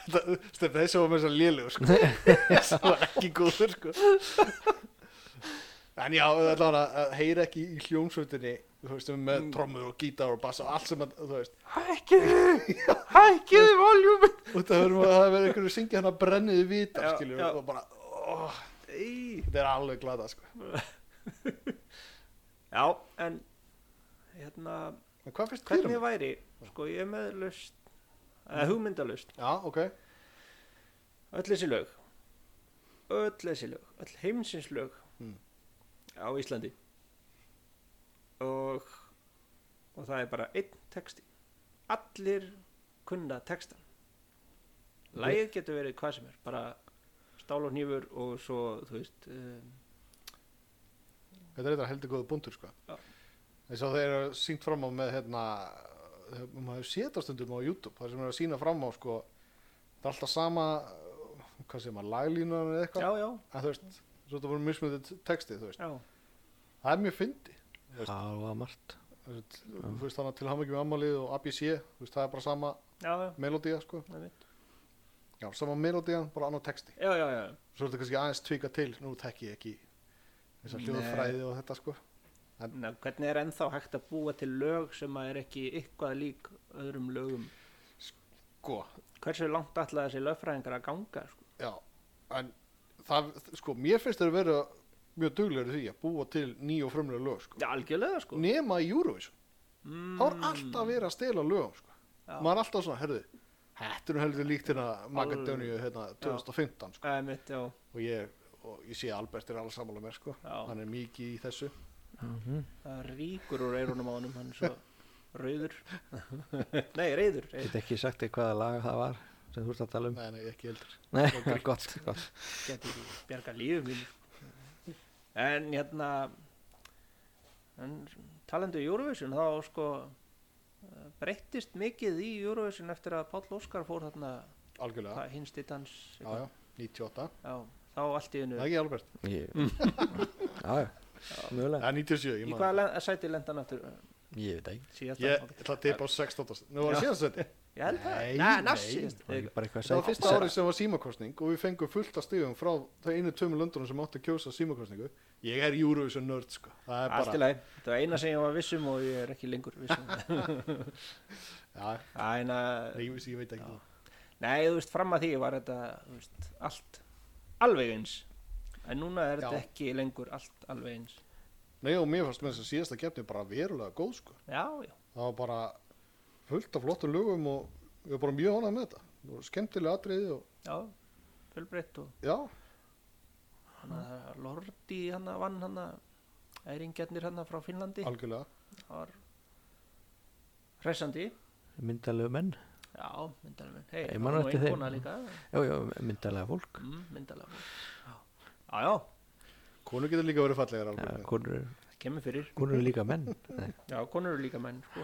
Speaker 3: Þetta- Stefán, þessi var með þess að lélugur sko. þessi var ekki góður sko. en já, allan að að heyra ekki í hljómsveitinni þú veist, um með
Speaker 2: Mm.
Speaker 3: trommur og gítar og bass og allt sem að, þú veist
Speaker 2: Hækkiðu, hækkiðu voljúmi
Speaker 3: og það verður að það verður einhverju að syngja hana brenniði vita
Speaker 2: Já,
Speaker 3: skilur,
Speaker 2: já.
Speaker 3: og bara, ó, þetta er alveg glada sko.
Speaker 2: Já, en hérna,
Speaker 3: en hvað finnst þér um
Speaker 2: hvernig væri sko ég er með lust eða hugmyndalust,
Speaker 3: já, ok,
Speaker 2: öll þessi lög öll þessi lög, öll heimsins lög
Speaker 3: Mm.
Speaker 2: á Íslandi og og það er bara einn texti allir kunna textan Lægið getur verið hvað sem er, bara stál og hnífur og svo, þú veist, um,
Speaker 3: þetta er eitthvað heldur góða búndur sko.
Speaker 2: Já.
Speaker 3: eins og þeir eru sínt fram á með hérna, þegar maður hefur séð þetta stundum á YouTube, þar sem eru að sína fram á sko, það er alltaf sama hvað sem maður, laglínu eða eitthvað
Speaker 2: já, já,
Speaker 3: en þú veist, svo þetta voru mismöndið texti þú veist,
Speaker 2: já,
Speaker 3: það er mjög fyndi
Speaker 1: Já, það var margt
Speaker 3: þú veist, þú veist þannig að til hafa ekki með ammalið og ABC, þú veist, það er bara sama
Speaker 2: já, já,
Speaker 3: melodía sko,
Speaker 2: það veit.
Speaker 3: já, sama melodían, bara annar texti
Speaker 2: Já, já, já,
Speaker 3: svo er þetta kannski aðeins tvika til nú tekki ég ekki þess að
Speaker 2: Nei.
Speaker 3: hljóðfræði og þetta sko
Speaker 2: Ná, hvernig er ennþá hægt að búa til lög sem að er ekki eitthvað lík öðrum lögum? Sko,
Speaker 3: Gó.
Speaker 2: Hversu langt ætla þessi lögfræðingar að ganga? Sko?
Speaker 3: já, en það, sko, mér finnst þeir vera mjög duglegur í því að búa til ný og frumlega lög sko.
Speaker 2: Já, algjörlega, sko.
Speaker 3: nema í Eurovision
Speaker 2: Mm,
Speaker 3: þá er alltaf verið að stela lögum sko.
Speaker 2: Já.
Speaker 3: maður er alltaf svona, herðu þetta er nú heldur líkt hérna Magadóníu hérna 2015 sko.
Speaker 2: Æ, mitt, já,
Speaker 3: og ég og ég sé að Albert er alveg sammála mér sko.
Speaker 2: Já.
Speaker 3: hann er mikið í þessu
Speaker 2: það ríkur úr eyrunum á honum, hann er svo rauður. Nei, reyður. reyður.
Speaker 1: Get ekki sagt þér hvaða lag það var sem þú ert að tala um
Speaker 3: nei, nei, ekki heldur
Speaker 1: Nei, það er gott, gott
Speaker 2: Gæti bjarga lífum mínu. En hérna, en talandi um Eurovision, þá sko eh, breyttist mikið í Eurovision eftir að Páll Óskar fór þarna
Speaker 3: algjörlega,
Speaker 2: hvað, hinsti dans
Speaker 3: já, já, 98
Speaker 2: já, þá allt í
Speaker 3: það
Speaker 2: einu
Speaker 3: er ekki Albert
Speaker 1: Ég- Já, já, mjögulega
Speaker 3: Það er 97,
Speaker 2: í
Speaker 3: ég maður.
Speaker 2: hvaða len- sæti lenda hann aftur
Speaker 1: Ég veit ekki
Speaker 2: síðast
Speaker 3: Ég ætla að teipa á 16. Nú var það síðan seti.
Speaker 2: ég held það
Speaker 3: Nei,
Speaker 2: Nei, næst
Speaker 3: nei.
Speaker 2: síðast.
Speaker 1: Það er ekki bara eitthvað
Speaker 3: Það var
Speaker 1: sætt-
Speaker 3: fyrsta
Speaker 1: sætt-
Speaker 3: árið sem var símakostning og við fengum fullt af stífum frá það einu tömur löndunum sem átti að kjósa símakostningu. Ég er Eurovision nörd, sko. Það er
Speaker 2: allt í
Speaker 3: bara,
Speaker 2: lagi, þetta var eina sem ég var vissum og ég er ekki lengur um. vissum
Speaker 3: já,
Speaker 2: Æna,
Speaker 3: nei, ég, vissi- ég veit ekki það.
Speaker 2: nei, þú veist, fram að því var þetta þú veist, allt alveg eins en núna er
Speaker 3: Já.
Speaker 2: þetta ekki lengur allt alveg eins
Speaker 3: Nei, og mér fannst með þess að síðasta keppni bara verulega góð, sko.
Speaker 2: já, já,
Speaker 3: Það var bara fullt af flottum lögum og ég var bara mjög honað með þetta. Og skemmtilega atriði og,
Speaker 2: já fjölbreytt og
Speaker 3: já,
Speaker 2: hann að Lordi hann að vann hann að æringjarnir hann frá Finnlandi
Speaker 3: algjörlega.
Speaker 2: það var hressandi
Speaker 1: Myndalegu menn
Speaker 2: Já, myndalega hey,
Speaker 1: Ég man eftir þeim.
Speaker 2: Kona líka,
Speaker 1: Já, já, myndalega fólk
Speaker 2: mm, myndalega Já, já,
Speaker 3: Konur getur líka verið fallegar
Speaker 1: Já,
Speaker 3: alveg.
Speaker 1: konur eru-
Speaker 2: það kemur fyrir
Speaker 1: konur eru líka menn Nei,
Speaker 2: Já, konur eru líka menn sko.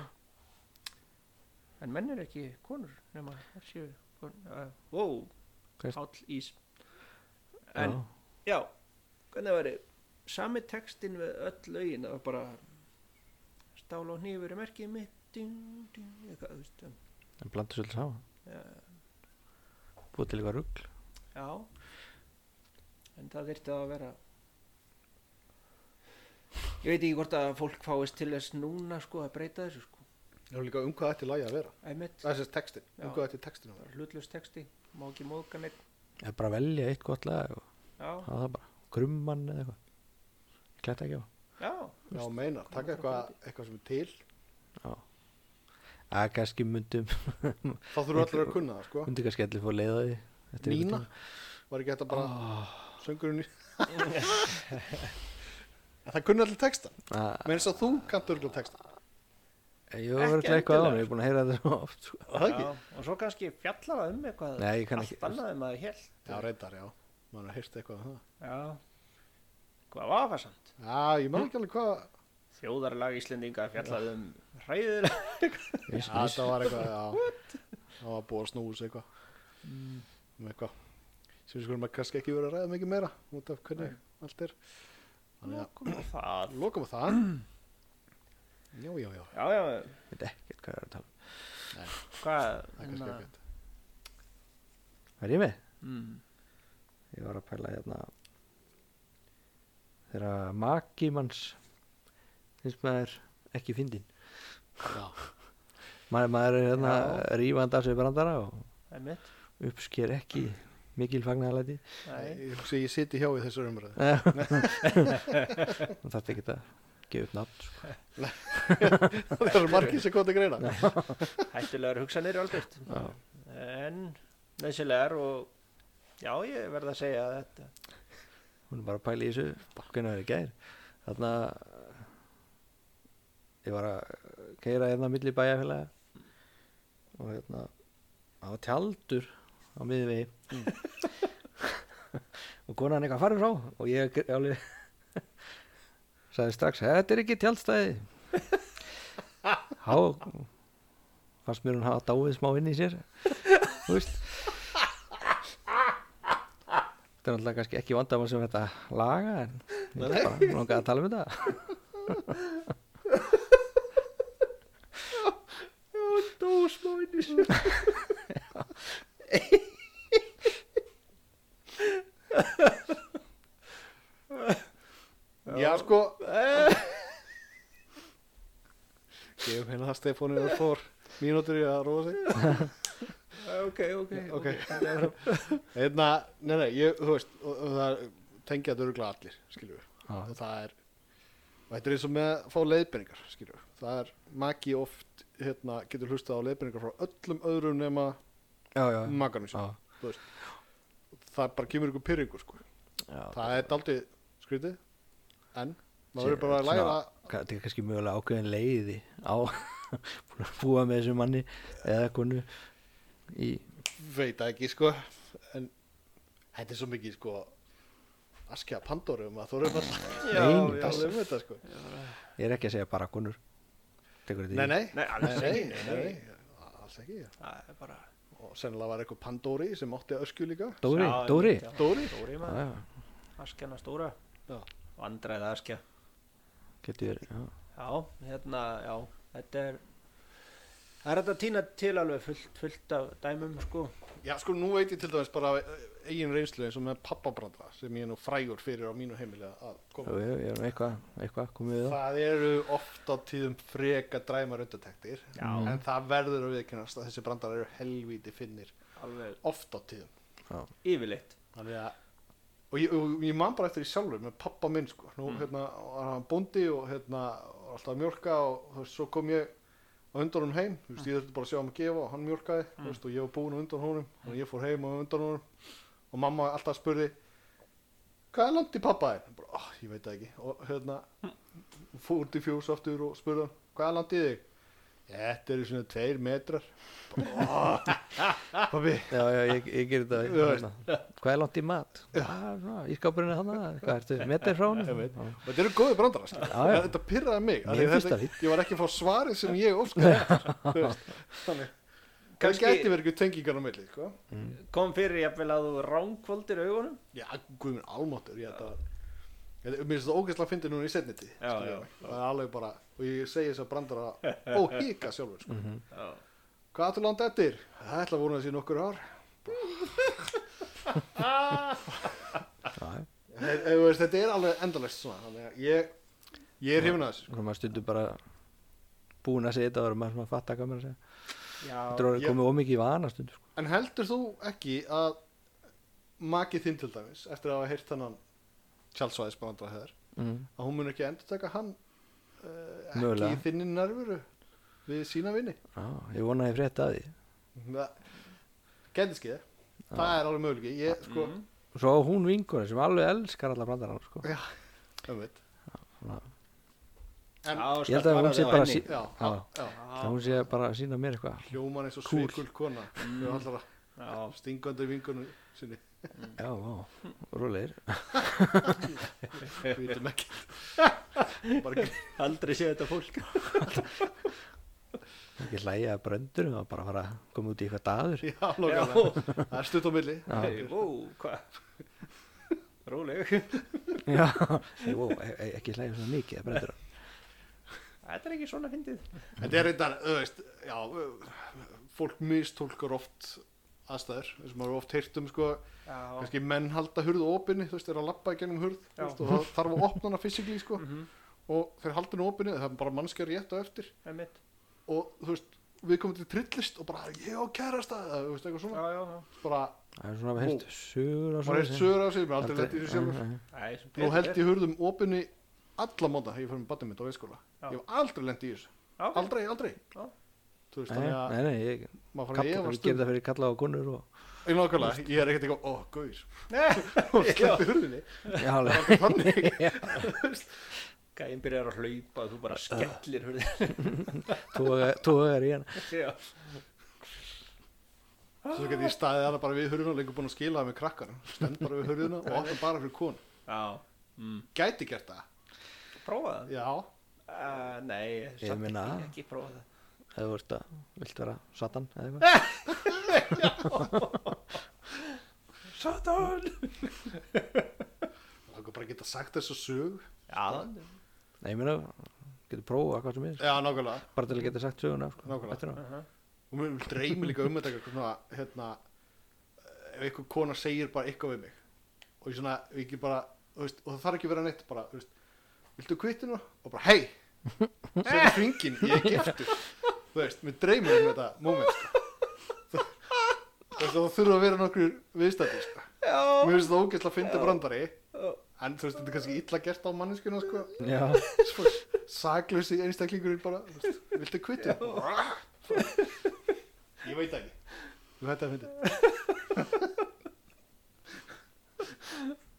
Speaker 2: En menn eru ekki konur nema þær séu kon- já, Ó,
Speaker 1: Hvers-
Speaker 2: háll ís En,
Speaker 1: já.
Speaker 2: já, hvernig væri Sami textin við öll lögin Það var bara Stál og hnífur er merkið mitt ding, ding, eitthvað, þú veist, um,
Speaker 1: En blandur svolítið saman Búið til eitthvað rugg
Speaker 2: Já En það þyrfti að vera Ég veit ekki hvort að fólk fáist til þess núna sko að breyta þessu sko
Speaker 3: Það er líka um hvað ætti lagi að vera.
Speaker 2: Æmitt,
Speaker 3: Það er sérst textin,
Speaker 2: Já.
Speaker 3: um hvað ætti textin að vera.
Speaker 2: hlutlust texti Má ekki móðka neitt
Speaker 1: Það er bara að velja eitt gott lag og
Speaker 2: Já,
Speaker 1: hafa það bara Krumman eða eitthvað Kletta ekki á
Speaker 2: já,
Speaker 3: Já, meinar, taka eitthvað, eitthvað sem er til.
Speaker 1: Að kannski myndum
Speaker 3: Þá þurfum allir að kunna það, sko.
Speaker 1: Myndi kannski allir fór að leiða því eftir einhvern
Speaker 3: Nína Ah.
Speaker 1: tíma.
Speaker 3: var ekki þetta bara söngurinn í En það kunni allir texta
Speaker 1: Ah,
Speaker 3: með þess að þú kannt örgulega texta
Speaker 1: Ég var verið
Speaker 2: Ekki
Speaker 1: eitthvað á hann,
Speaker 2: endilega,
Speaker 1: ég er búin að heyra þetta svo oft sko.
Speaker 3: var það
Speaker 2: já
Speaker 3: ekki?
Speaker 2: Og svo kannski fjallar það um eitthvað
Speaker 1: Nei, ég kann
Speaker 2: Allt
Speaker 1: ekki-
Speaker 2: annað en maður hélt
Speaker 3: Já, reyndar, já, maður har heyrt eitthvað um það.
Speaker 2: Já, hvað var það samt
Speaker 3: Já, ég man ekki alveg hvað
Speaker 2: Þjóðarlag Íslendinga fjallaði um hræðilega
Speaker 3: Já,
Speaker 1: Viss, viss.
Speaker 3: þetta var eitthvað, já Það var búið að snúa sig eitthvað
Speaker 2: Mm.
Speaker 3: um eitthvað sem við skulum að kannski ekki vera að ræða mikið meira út af hvernig allt er þannig
Speaker 2: Lokum á það.
Speaker 3: að lokum við það já, já, já
Speaker 2: Já, já,
Speaker 1: Ég veit ekkert hvað ég er að tala um.
Speaker 2: hvað?
Speaker 3: það er kannski
Speaker 2: hérna,
Speaker 3: ekkert
Speaker 1: Er ég með?
Speaker 2: mm.
Speaker 1: Ég var að pæla hérna þegar maki manns finnst maður ekki fyndin
Speaker 3: já,
Speaker 1: maður, maður er hérna
Speaker 2: Já.
Speaker 1: rífandi af sér brandara og
Speaker 2: Það er mitt.
Speaker 1: uppsker ekki mikil fagnarlæti
Speaker 2: Nei.
Speaker 3: ég, hugsa að ég siti hjá í þessar umræðu
Speaker 1: það þarf ekki að gefa upp nafn sko.
Speaker 3: það eru margir sem kom til greina
Speaker 2: Hættulegar hugsanir algjört.
Speaker 1: Já.
Speaker 2: En nöðsilegar og já, ég verð að segja að þetta.
Speaker 1: hún er bara að pæla í þessu hvernig það er í gær þarna ég var að keira hérna milli bæjarfélaga og hérna það var tjaldur á miðvegi og konan eitthvað farin frá og ég gr- alveg sagði strax, þetta er ekki tjaldstæði há fannst mér hún hafa dáið smá inn í sér þú veist Þetta er náttúrulega kannski ekki vandamál sem þetta laga en ég
Speaker 3: Nei,
Speaker 1: er bara langaði að tala um þetta
Speaker 2: Dósmóinni sér.
Speaker 3: já, sko gefum hérna það Stefáni og fór mínútur í að róa sig
Speaker 2: Ok, ok,
Speaker 3: ok hérna, nei, nei, ég, þú veist og, og það tengja þetta öruglega allir skilju, og
Speaker 1: Já,
Speaker 3: það er og þetta er eins og með að fá leiðbendingar skilju, það er maki oft hérna, getur hlustað á leiðbendingar frá öllum öðrum nema
Speaker 1: já, já,
Speaker 3: makanum
Speaker 1: já,
Speaker 3: sér, þú veist það bara kemur ykkur pyrringu sko
Speaker 1: já
Speaker 3: það er daldið skrítið en
Speaker 1: Sér,
Speaker 3: maður verður bara að læra
Speaker 1: svona- Ka- Þetta er kannski mögulega ákveðin leiði á búin að búa með þessum manni eða konu í
Speaker 3: veit það ekki sko en þetta er svo mikið sko askja pandorum að þú eru bara
Speaker 2: Já,
Speaker 1: Nei,
Speaker 2: já.
Speaker 3: að tala um þetta sko
Speaker 1: ég er ekki að segja bara konur Tekur þetta
Speaker 3: nei, nei,
Speaker 2: Nei, alls
Speaker 3: nei,
Speaker 2: ekki, nei, nei.
Speaker 3: nei, alls ekki
Speaker 2: Það er bara...
Speaker 3: og sennilega var eitthvað Pandóri sem átti öskju líka
Speaker 1: Dóri,
Speaker 2: Já,
Speaker 1: Dóri
Speaker 2: já.
Speaker 3: Dóri,
Speaker 2: um Dóri
Speaker 1: Já,
Speaker 2: maður.
Speaker 1: já,
Speaker 2: Askjana stóra.
Speaker 3: Já.
Speaker 2: Vandræða askja.
Speaker 1: getur, já,
Speaker 2: Já, hérna, já, þetta er það er þetta að týna til alveg fullt, fullt af dæmum, sko
Speaker 3: já sko nú veit ég til dæmis bara af eigin reynslu eins og með pappabrandra sem ég er nú frægur fyrir á mínu heimili að
Speaker 1: já,
Speaker 3: koma
Speaker 1: já, ég er nú eitthvað, eitthvað komið við það
Speaker 3: það eru ofta tíðum freka dræmar undatektir
Speaker 2: Já.
Speaker 3: en það verður að viðkennast að þessi brandar eru helvíti finnir
Speaker 2: alveg
Speaker 3: ofta tíðum
Speaker 2: yfirleitt
Speaker 3: Þannig að og ég, og ég man bara eftir því sjálfur með pappa minn sko, nú hérna var hann bóndi og hérna var alltaf að mjólka og þú veist, svo kom ég á undanum heim, þú veist, ég þurfti bara að sjá hann að gefa og hann mjólkaði, þú veist, og ég var búinn á undan honum og ég fór heim á undan honum og mamma alltaf spurði hvað er langt í pappa þér? Ég Bara, oh, ég veit það ekki og hérna fór út í fjós aftur og spurði hann hvað er langt í þig? Þetta eru svona tveir metrar bara, oh, Pappi
Speaker 1: Já, já, ég, ég gerir
Speaker 3: Þú veist.
Speaker 1: þetta hérna. Hvað er langt í mat? Já, svona, í skápurinn er hana Hvað ertu, metar frá hann?
Speaker 3: veit. Og Þetta eru góði brandara skilur.
Speaker 1: Já, já.
Speaker 3: Þetta pyrraði mig af
Speaker 1: Mér
Speaker 3: því
Speaker 1: finnst
Speaker 3: þetta,
Speaker 1: það fínt.
Speaker 3: Ég var ekki að fá svarið sem ég óskaði eftir, þú veist. Þannig Það
Speaker 2: Kannski-
Speaker 3: gæti verið ekki tengingar á milli sko.
Speaker 2: kom fyrir jafnvel að þú rángkvöldir augunum
Speaker 3: Já, guð minn almáttur Ég þetta Þetta- Mér finnst það ógeðslega að fyndi núna í setni tíð
Speaker 2: Já,
Speaker 3: skilur
Speaker 2: já.
Speaker 3: mig. Það er alveg bara Og ég segi þess að brandara óhíka sjálfur sko.
Speaker 1: Mhm.
Speaker 2: já,
Speaker 3: Hvað ættu langt eftir? Það ætla að vona þessi nokkur ár
Speaker 1: Já, já.
Speaker 3: Þe- þú veist, Þetta er alveg endalist svona Þannig að ég Ég er hrifin að þessu sko.
Speaker 1: Svo maður stundum bara búin að segja þetta og er maður svona að fatta hvað maður að segja Þetta er
Speaker 2: já,
Speaker 1: orðið
Speaker 3: sko. ég-
Speaker 1: komið ómikið í vana stundum sko.
Speaker 3: En heldur þú ekki að Maki þinn til dæmis Eftir að hafa heyrt þannan Tjálsvæðis brandara heðar
Speaker 1: mm.
Speaker 3: að hún mun ekki endur taka hann uh, ekki
Speaker 1: Mögulega.
Speaker 3: í þinni nærveru við sína vinni
Speaker 1: Já, ég vona að ég frétta að því
Speaker 3: gæti skeið, það er alveg möguleiki ég sko,
Speaker 2: Mhm.
Speaker 1: og svo á hún vinkunni sem alveg elskar alla brandarann sko.
Speaker 3: já, um veit en,
Speaker 2: já
Speaker 1: Ég held að hún sé bara sí-
Speaker 3: já,
Speaker 1: Já.
Speaker 3: já,
Speaker 1: það hún sé bara að sína mér eitthvað
Speaker 3: hljóman eins og
Speaker 1: Kúl.
Speaker 3: svikul kona með allra
Speaker 2: já,
Speaker 3: stingandi vingunum sinni,
Speaker 1: já, já, rólegir
Speaker 3: við vitum ekki bara,
Speaker 2: aldrei sé þetta fólk
Speaker 1: ekki hlæja að bröndur og bara fara að koma út í eitthvað dagur
Speaker 3: Já, lókaðlega. Það er stutt á milli.
Speaker 2: Hey, wow, hvað? Róleg.
Speaker 1: já, Ég, wow, e- e- ekki hlæja svona mikið að bröndur
Speaker 2: Þetta er ekki svona fyndið.
Speaker 3: Þetta er reyndar, þú veist, já, fólk mistólkar oft aðstæður, eins og maður hefur oft heyrt um, sko,
Speaker 2: Já.
Speaker 3: kannski menn halda hurðu opinni, þú veist, er að lappa í gennum hurð, þú
Speaker 2: Já.
Speaker 3: veist, og það þarf að opna hana fysikli, sko,
Speaker 2: Mhm.
Speaker 3: og þeir halda henni opinni, það er bara mannskja rétt á eftir,
Speaker 2: Einmitt.
Speaker 3: og þú veist, við komum til trillist og bara, ég á kærasta, eða, þú veist, eitthvað
Speaker 2: Já,
Speaker 3: svona,
Speaker 2: já, já.
Speaker 3: bara,
Speaker 1: það er svona heilt sögur og svona
Speaker 3: maður
Speaker 1: sko.
Speaker 3: heilt sögur af sig, maður aldrei lett í þessu sjálfur.
Speaker 1: sjálfur
Speaker 2: Æ, sem
Speaker 3: Nú
Speaker 2: betur
Speaker 3: held
Speaker 2: fer.
Speaker 3: ég hurðum opinni alla móta þegar ég fyrir með badnum mitt á veiskóla.
Speaker 2: Já.
Speaker 3: Ég hef aldrei lent í þessu.
Speaker 2: Já, ok.
Speaker 3: Aldrei, aldrei.
Speaker 2: Já.
Speaker 3: Þú veist, þannig að
Speaker 1: nei, nei, ég
Speaker 3: maður fann að um
Speaker 1: kalla,
Speaker 3: ég var
Speaker 1: við
Speaker 3: stund.
Speaker 1: gerum það fyrir kalla á konur og
Speaker 3: Ég nákvæmlega, ég er ekkert eitthvað, ó, gauðis.
Speaker 2: Nei, já.
Speaker 3: Sleppi hurðinni.
Speaker 1: já, alveg.
Speaker 3: Það er Þannig.
Speaker 2: Gæinn byrjar að hlaupa og þú bara skellir hurðin.
Speaker 1: toga- togar í hana
Speaker 2: Já.
Speaker 3: Svo get ég staðið hana bara við hurðina og lengur búin að skila það með krakkar. Stend bara við hurðina og opna bara fyrir konu.
Speaker 2: Já. Mm.
Speaker 3: Gæti gert það.
Speaker 2: Prófa það.
Speaker 3: Já.
Speaker 2: Uh, nei,
Speaker 1: Ég
Speaker 2: samt
Speaker 1: meina-
Speaker 2: ekki, ekki prófa það.
Speaker 1: ef þú ert að, vilt vera satan eða eitthvað
Speaker 2: Satan!
Speaker 3: Það er bara að geta sagt þessu sög.
Speaker 2: Já,
Speaker 3: Eh!
Speaker 1: nei, ég meina, getur prófa hvað sem er
Speaker 3: Já, nákvæmlega.
Speaker 1: bara til að geta sagt söguna sko,
Speaker 3: Eh! Nákvæmlega.
Speaker 1: eftir á.
Speaker 3: og mér vil dreymi líka um þetta eitthvað svona, hérna, ef einhver kona segir bara eitthvað við mig og ég svona, ef ég ekki bara, þú veist, og það þarf ekki að vera neitt bara, þú veist, viltu kvitti nú? og bara, hei, segðu hringin ég er giftur, þú veist, mér dreymi um þetta moment sko. þú veist, það þurfa að vera nokkur viðstætti, sko.
Speaker 2: já,
Speaker 3: mér finnst það ógeðslega að fyndi brandari
Speaker 2: Já.
Speaker 3: en þú veist, þetta er kannski illa gert á manneskuna, sko
Speaker 1: já,
Speaker 3: Svo saklausi einstaklingurinn bara þú veist, viltu kvittu ég veit það ekki þú hætti að fyndi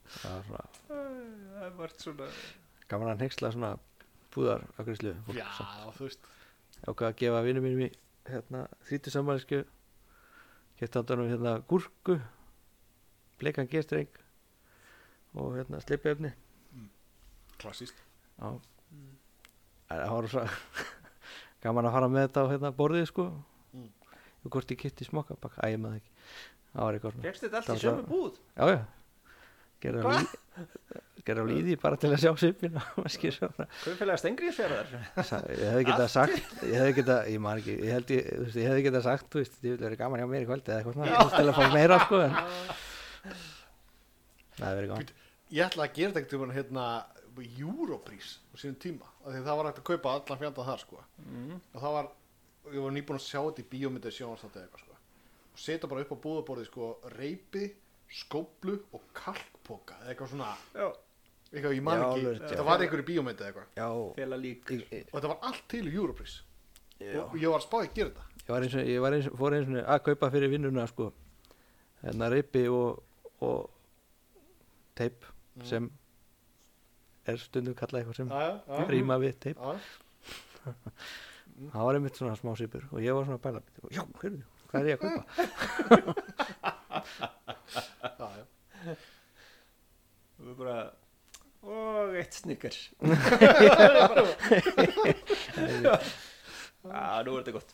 Speaker 1: það er svona
Speaker 2: það er margt svona
Speaker 1: gaman að nexla svona búðar á gríslu
Speaker 3: já þú veist
Speaker 1: ákvað að gefa vinnum mínum í hérna, þrítu sammælisku geta andanum hérna gúrku bleikan gestreng og hérna slipefni
Speaker 3: klassíst
Speaker 1: já En það var svo gaman að fara með þetta á hérna borðið sko
Speaker 3: Mm.
Speaker 1: og hvort ég kitti smokka bak æ, ég maður ekki það var eitthvað svona
Speaker 2: Fegstu þetta allt í
Speaker 1: Það var-
Speaker 2: sömu búð?
Speaker 1: já, já gerði á
Speaker 2: Hva?
Speaker 1: lí- gerði á líði bara til að sjá sipina maski svona
Speaker 2: Kaupfélaga Stengriðsfjörðar?
Speaker 1: Sa- ég hefði getað sagt ég hefði getað, ég maður ekki ég, held, ég, þú veist, ég hefði getað sagt, þú veist, ég vil verið gaman hjá mér í kvöldi eða eitthvað svona, þú veist, til að fá meira sko en það hefði verið gaman
Speaker 3: ég ætla að gera þetta eitthvað hérna Europrís á sínum tíma af því að það var hægt að kaupa allan fjandan þar sko
Speaker 2: Mm.
Speaker 3: og það var ég var nýbúin að sjá þetta í bíómyndið sjónastandi eitthvað sko og setja bara upp á búðaborðið sko reypi skóplu og kalkpoka eða eitthvað svona
Speaker 2: Já,
Speaker 3: eitthvað ég man
Speaker 1: Já,
Speaker 3: ekki
Speaker 1: alveg rétt, já.
Speaker 3: þetta var einhver í bíómyndið eitthvað
Speaker 1: já,
Speaker 2: félag lík
Speaker 1: ég, ég,
Speaker 3: og þetta var allt til í Europrís
Speaker 1: Já.
Speaker 3: og ég var að spá í að gera þetta
Speaker 1: ég var eins og, ég var eins og, fór eins og að kaupa fyrir vinnuna sko hérna ripi og, og teip sem er stundum kallað eitthvað sem
Speaker 3: já, já,
Speaker 1: rýma við teip
Speaker 3: já.
Speaker 1: það var einmitt svona smá sýpur og ég var svona að bæla bíddu, já, heyrðu, hvað er ég að kaupa?
Speaker 3: já, já.
Speaker 2: Við bara Og eitt snikker Já, nú er þetta gott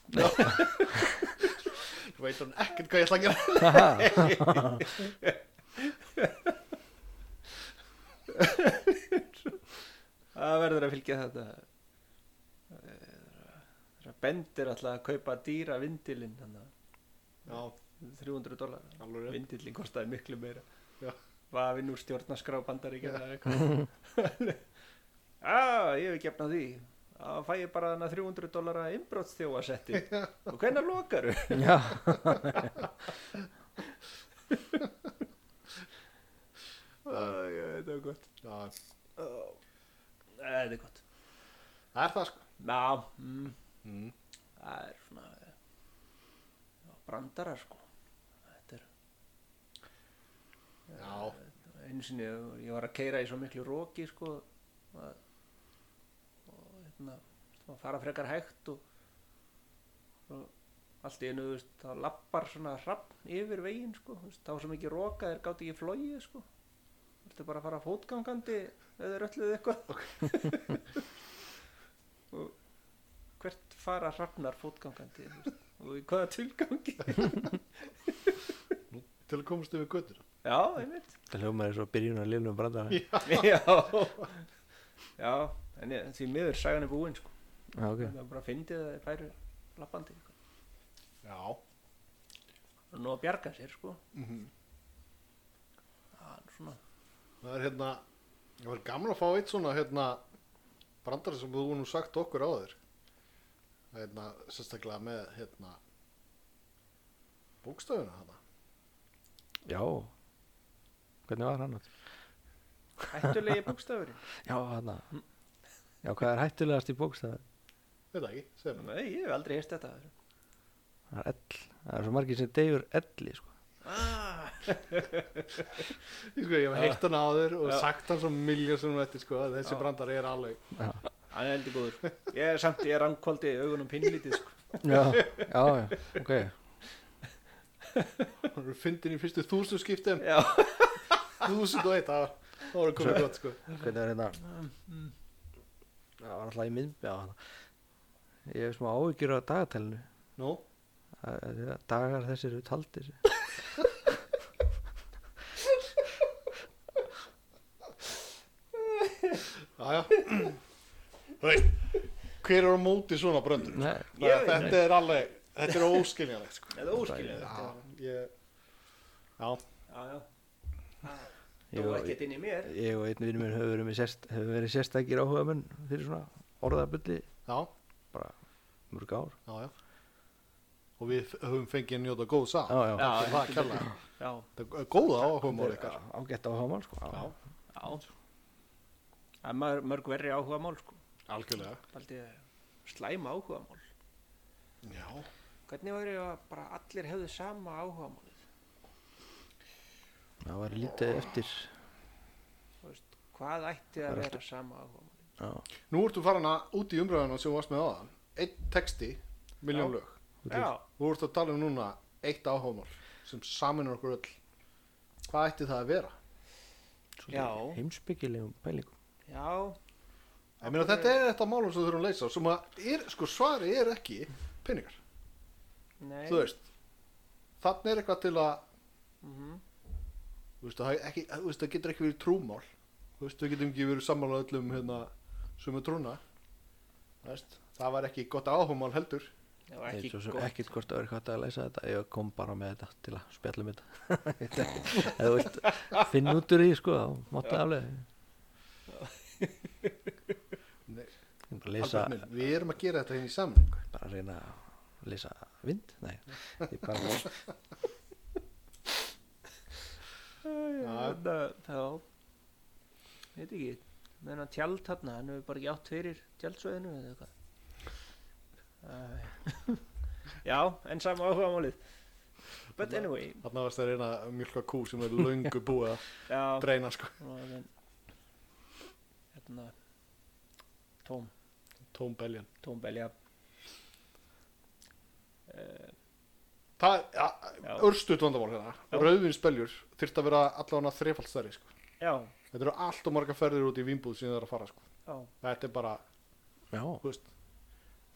Speaker 3: Þú veit hann ekkert hvað ég ætla að gera
Speaker 2: Það verður að fylgja þetta Það bendir alltaf að kaupa dýra vindilinn þannig
Speaker 3: Já,
Speaker 2: 300 dólar
Speaker 3: alveg rétt.
Speaker 2: Vindillin kostaði miklu meira
Speaker 3: Já.
Speaker 2: Vafinn úr stjórnaskrá bandaríkja eða eitthvað Já, ég hef ekki efnað því Það fæ ég bara hana 300 dólara innbrotstjóa setti Og hvenær lokaru?
Speaker 1: já,
Speaker 2: Þetta er gott
Speaker 3: Já,
Speaker 2: Æ, Þetta er gott
Speaker 3: það er það sko
Speaker 2: Já, mm,
Speaker 3: mm.
Speaker 2: það er svona já, Brandarar sko Þetta er
Speaker 3: Já,
Speaker 2: einu sinni ég var að keira í svo miklu róki sko að, og hérna að fara frekar hægt og, og allt í einu þú veist, þá lappar svona hrappn yfir veginn sko þú veist, þá var svo mikið róka þeir gátt ekki flogið sko Þetta bara að fara fótgangandi eða rölluð eitthvað og hvert fara hrafnar fótgangandi þú veist, og í hvaða tilgangi
Speaker 3: til að komast yfir göttur
Speaker 2: já, einmitt
Speaker 1: Það hljóma er svo byrjun að lilnum brandara
Speaker 2: já, já en ég, því miður sagan er búin sko.
Speaker 1: Já, ok
Speaker 2: það er bara að fyndið að þeir færu lappandi sko.
Speaker 3: já
Speaker 2: og nú að bjarga sér sko.
Speaker 3: Mhm.
Speaker 2: það er svona
Speaker 3: það er hérna það var gamla að fá eitt svona hérna brandari sem þú nú sagt okkur á þér hérna sérstaklega með hérna bókstafuna hana
Speaker 1: Já Hvernig var hann? aftur?
Speaker 2: hættulegi búkstafurinn
Speaker 1: Já, hann að- Já, hvað er hættulegast í bókstæða?
Speaker 3: veit það ekki, segir mér
Speaker 2: nei, ég hef aldrei heist þetta áður.
Speaker 1: Það er ell Það er svo margir sem deyfur elli sko.
Speaker 2: ah,
Speaker 3: Ég sko, ég hef heitt hann á þér og
Speaker 2: Já.
Speaker 3: sagt hann svo miljón sem þetta sko að þessi brandari er alveg
Speaker 2: hann er heldur góður ég er samt, ég er ankvöldi augunum pinnlítið sko.
Speaker 1: Já, já, já, ok
Speaker 3: hann er fyndin í fyrstu þúsund skiptum
Speaker 2: já,
Speaker 3: þúsund og eitt, það var- það voru komið gott sko
Speaker 1: Hvernig er hérna Það var alltaf í miðbjá hann Ég hef smá áhyggjur á dagatælinu
Speaker 3: nú,
Speaker 1: Það- það- Dagar þessir eru taldir
Speaker 3: aðja þú veist hver er á móti svona brandur
Speaker 1: Nei,
Speaker 2: Ég veit
Speaker 3: þetta er alveg, þetta er óskiljanlegt sko
Speaker 2: þetta er óskiljaður
Speaker 3: já, ég já,
Speaker 2: já, já,
Speaker 1: ég,
Speaker 2: þú er
Speaker 1: og-
Speaker 2: ekkert inn í mér
Speaker 1: ég og einn vinnum minn höfum verið, með sérst, höfum verið sérstakir áhuga menn fyrir svona orðabulli
Speaker 3: já,
Speaker 1: mörg ár
Speaker 3: já, já og við höfum fengið að njóta góð sá
Speaker 1: Já, já,
Speaker 2: Já.
Speaker 3: það er kjærlega
Speaker 2: já,
Speaker 3: það er góða áhugum
Speaker 1: Þetta
Speaker 3: ára
Speaker 1: er
Speaker 3: ykkar
Speaker 1: ágætt áhuga mann sko.
Speaker 3: já,
Speaker 2: Já Það er mörg, mörg verri áhuga mál sko
Speaker 3: algjörlega
Speaker 2: Baldið slæma áhuga mál
Speaker 3: já,
Speaker 2: Hvernig væri að bara allir hefðu sama áhuga málið
Speaker 1: það var lítið eftir
Speaker 2: Þú veist, hvað ætti
Speaker 1: Það
Speaker 2: að
Speaker 1: er
Speaker 2: vera sama áhuga málið
Speaker 1: já,
Speaker 3: nú ertu farin að út í umræðuna sem þú varst með áðan einn texti,
Speaker 2: Já.
Speaker 3: miljón lög
Speaker 2: Já,
Speaker 3: Þú ert að tala um núna eitt áhómál sem saminur okkur öll. Hvað ætti það að vera?
Speaker 2: Já.
Speaker 1: heimsbyggilegum pælingum
Speaker 2: já,
Speaker 3: Ég meina þetta er þetta málum sem við þurfum að leysa sem að er, sko svari er ekki peningar.
Speaker 2: nei
Speaker 3: Þú veist, þannig er eitthvað til að,
Speaker 2: mhm,
Speaker 3: þú veist, það, er ekki, þú veist, það getur ekki verið trúmál. Þú veist, við getum ekki verið sammála öllum hérna sem er trúna. Þú veist, það var ekki gott áhómál heldur.
Speaker 2: Það var
Speaker 1: Ég
Speaker 2: ekki
Speaker 1: svo sem
Speaker 2: gott
Speaker 1: ekkert hvort það er hvað að leysa þetta ég kom bara með þetta til að spjalla um þetta ef þú vilt finna út úr því sko, þá máttu aflega
Speaker 3: Nei,
Speaker 1: ég er bara að leysa
Speaker 3: Albert minn, við erum að gera þetta hérna í samningu.
Speaker 1: bara að reyna að leysa vind nei, ég bara
Speaker 3: Já.
Speaker 2: Þannig að, já Veit ekki, meðan að tjald þarna Hann hefur bara ekki átt fyrir tjaldsveðinu eða eitthvað Æ. Já, en sama áhuga málið But anyway
Speaker 3: Þarna varst það reyna mjölka kú sem er löngu búið að
Speaker 2: Já,
Speaker 3: dreina sko.
Speaker 2: og þann hérna tóm,
Speaker 3: Tómbeljan.
Speaker 2: tómbelja uh,
Speaker 3: Það er, ja,
Speaker 2: Já.
Speaker 3: örstuðt vandamál hérna.
Speaker 2: Já.
Speaker 3: Rauðvinsbeljur þyrft að vera allavega þrefald stærri, sko.
Speaker 2: já,
Speaker 3: Þetta eru allt og marga ferðir út í vinnbúð sem það er að fara, sko.
Speaker 2: já,
Speaker 3: Þetta er bara,
Speaker 1: já,
Speaker 3: þú veist,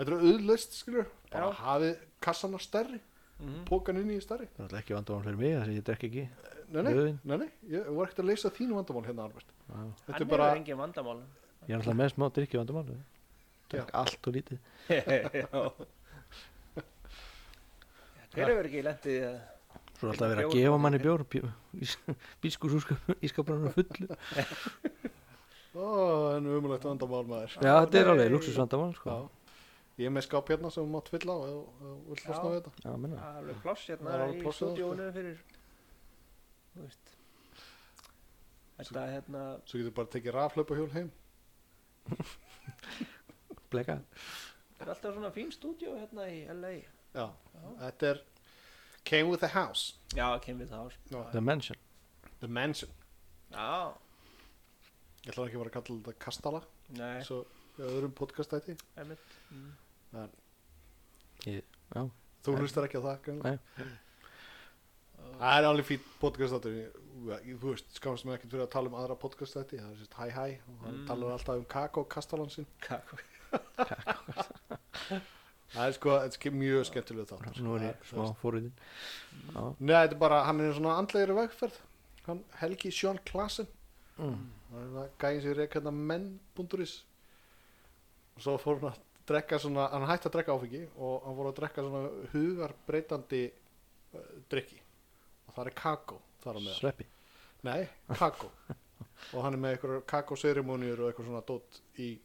Speaker 3: þetta eru auðlaust, skilur. Bara
Speaker 2: Já.
Speaker 3: hafið kassana stærri,
Speaker 2: mhm,
Speaker 3: pókan inn í stærri.
Speaker 1: það er náttúrulega ekki vandamál fyrir mig þess að ég drekk ekki
Speaker 3: Nei, nei,
Speaker 1: Rauðvín.
Speaker 3: nei, nei, ég var ekkert að leysa þín vandamál hérna, Albert.
Speaker 1: Já.
Speaker 3: Þetta
Speaker 2: hann
Speaker 3: er bara,
Speaker 2: hefur engin vandamál
Speaker 1: ég er alltaf með smá drikki vandamál drekk allt og lítið
Speaker 2: já hver hefur ekki lendið að
Speaker 1: Svo er alltaf verið að gefa manni bjór Bískursúskap Ískaprann er fullu Já,
Speaker 3: ó, en umulegt vandamál maður.
Speaker 1: þetta er alveg
Speaker 2: nei.
Speaker 1: luxusvandamann sko.
Speaker 3: Já. Ég er með skáp hérna sem þú mátt fylla á eða þú vilt
Speaker 2: Já.
Speaker 3: losna við þetta.
Speaker 1: Já,
Speaker 2: það
Speaker 1: menna
Speaker 2: er alveg pláss
Speaker 3: Það
Speaker 2: hérna
Speaker 3: er
Speaker 2: í
Speaker 3: alveg pláss hérna, sko.
Speaker 2: stúdíónu fyrir þú veist þetta hérna
Speaker 3: Svo getur bara tekið raflöpahjól heim.
Speaker 1: Bleka
Speaker 2: er alltaf svona fín stúdíó hérna í LA
Speaker 3: Já, þetta er Came with the House.
Speaker 2: já, kemur það á sko.
Speaker 3: Já.
Speaker 1: The Mansion
Speaker 3: The Mansion.
Speaker 2: já,
Speaker 3: Ég ætla ekki að vera að kalla þetta kastala
Speaker 2: nei,
Speaker 3: eins og í öðrum podcastæti
Speaker 2: emitt mm.
Speaker 1: Já,
Speaker 3: Þú
Speaker 1: Nei.
Speaker 3: hlustar ekki á það greinilega.
Speaker 1: nei
Speaker 3: Það er alveg fýtt podcastæti Þú veist, skamast mig ekkert fyrir að tala um aðra podcastæti Það er sérst hæ hæ og hann
Speaker 2: Mm.
Speaker 3: talar alltaf um kakó kastalan sinn
Speaker 2: kakó
Speaker 3: það er sko, þetta er ske- mjög skemmtilega þáttur
Speaker 1: nú er ég
Speaker 3: Það-
Speaker 1: smá fóruðin
Speaker 3: Nei, þetta er bara, hann er svona andlegri vegferð hann, Helgi Sjón Klassen
Speaker 1: Mm.
Speaker 3: hann er það gæðin sem reyka hérna menn.is og svo fór hann að drekka svona, hann hætti að drekka áfengi og hann fór að drekka svona hugarbreytandi uh, drikki og það er kakó þar á meðal
Speaker 1: sveppi
Speaker 3: Nei, kakó og hann er með eitthvað kakóserimóniur og eitthvað svona dót í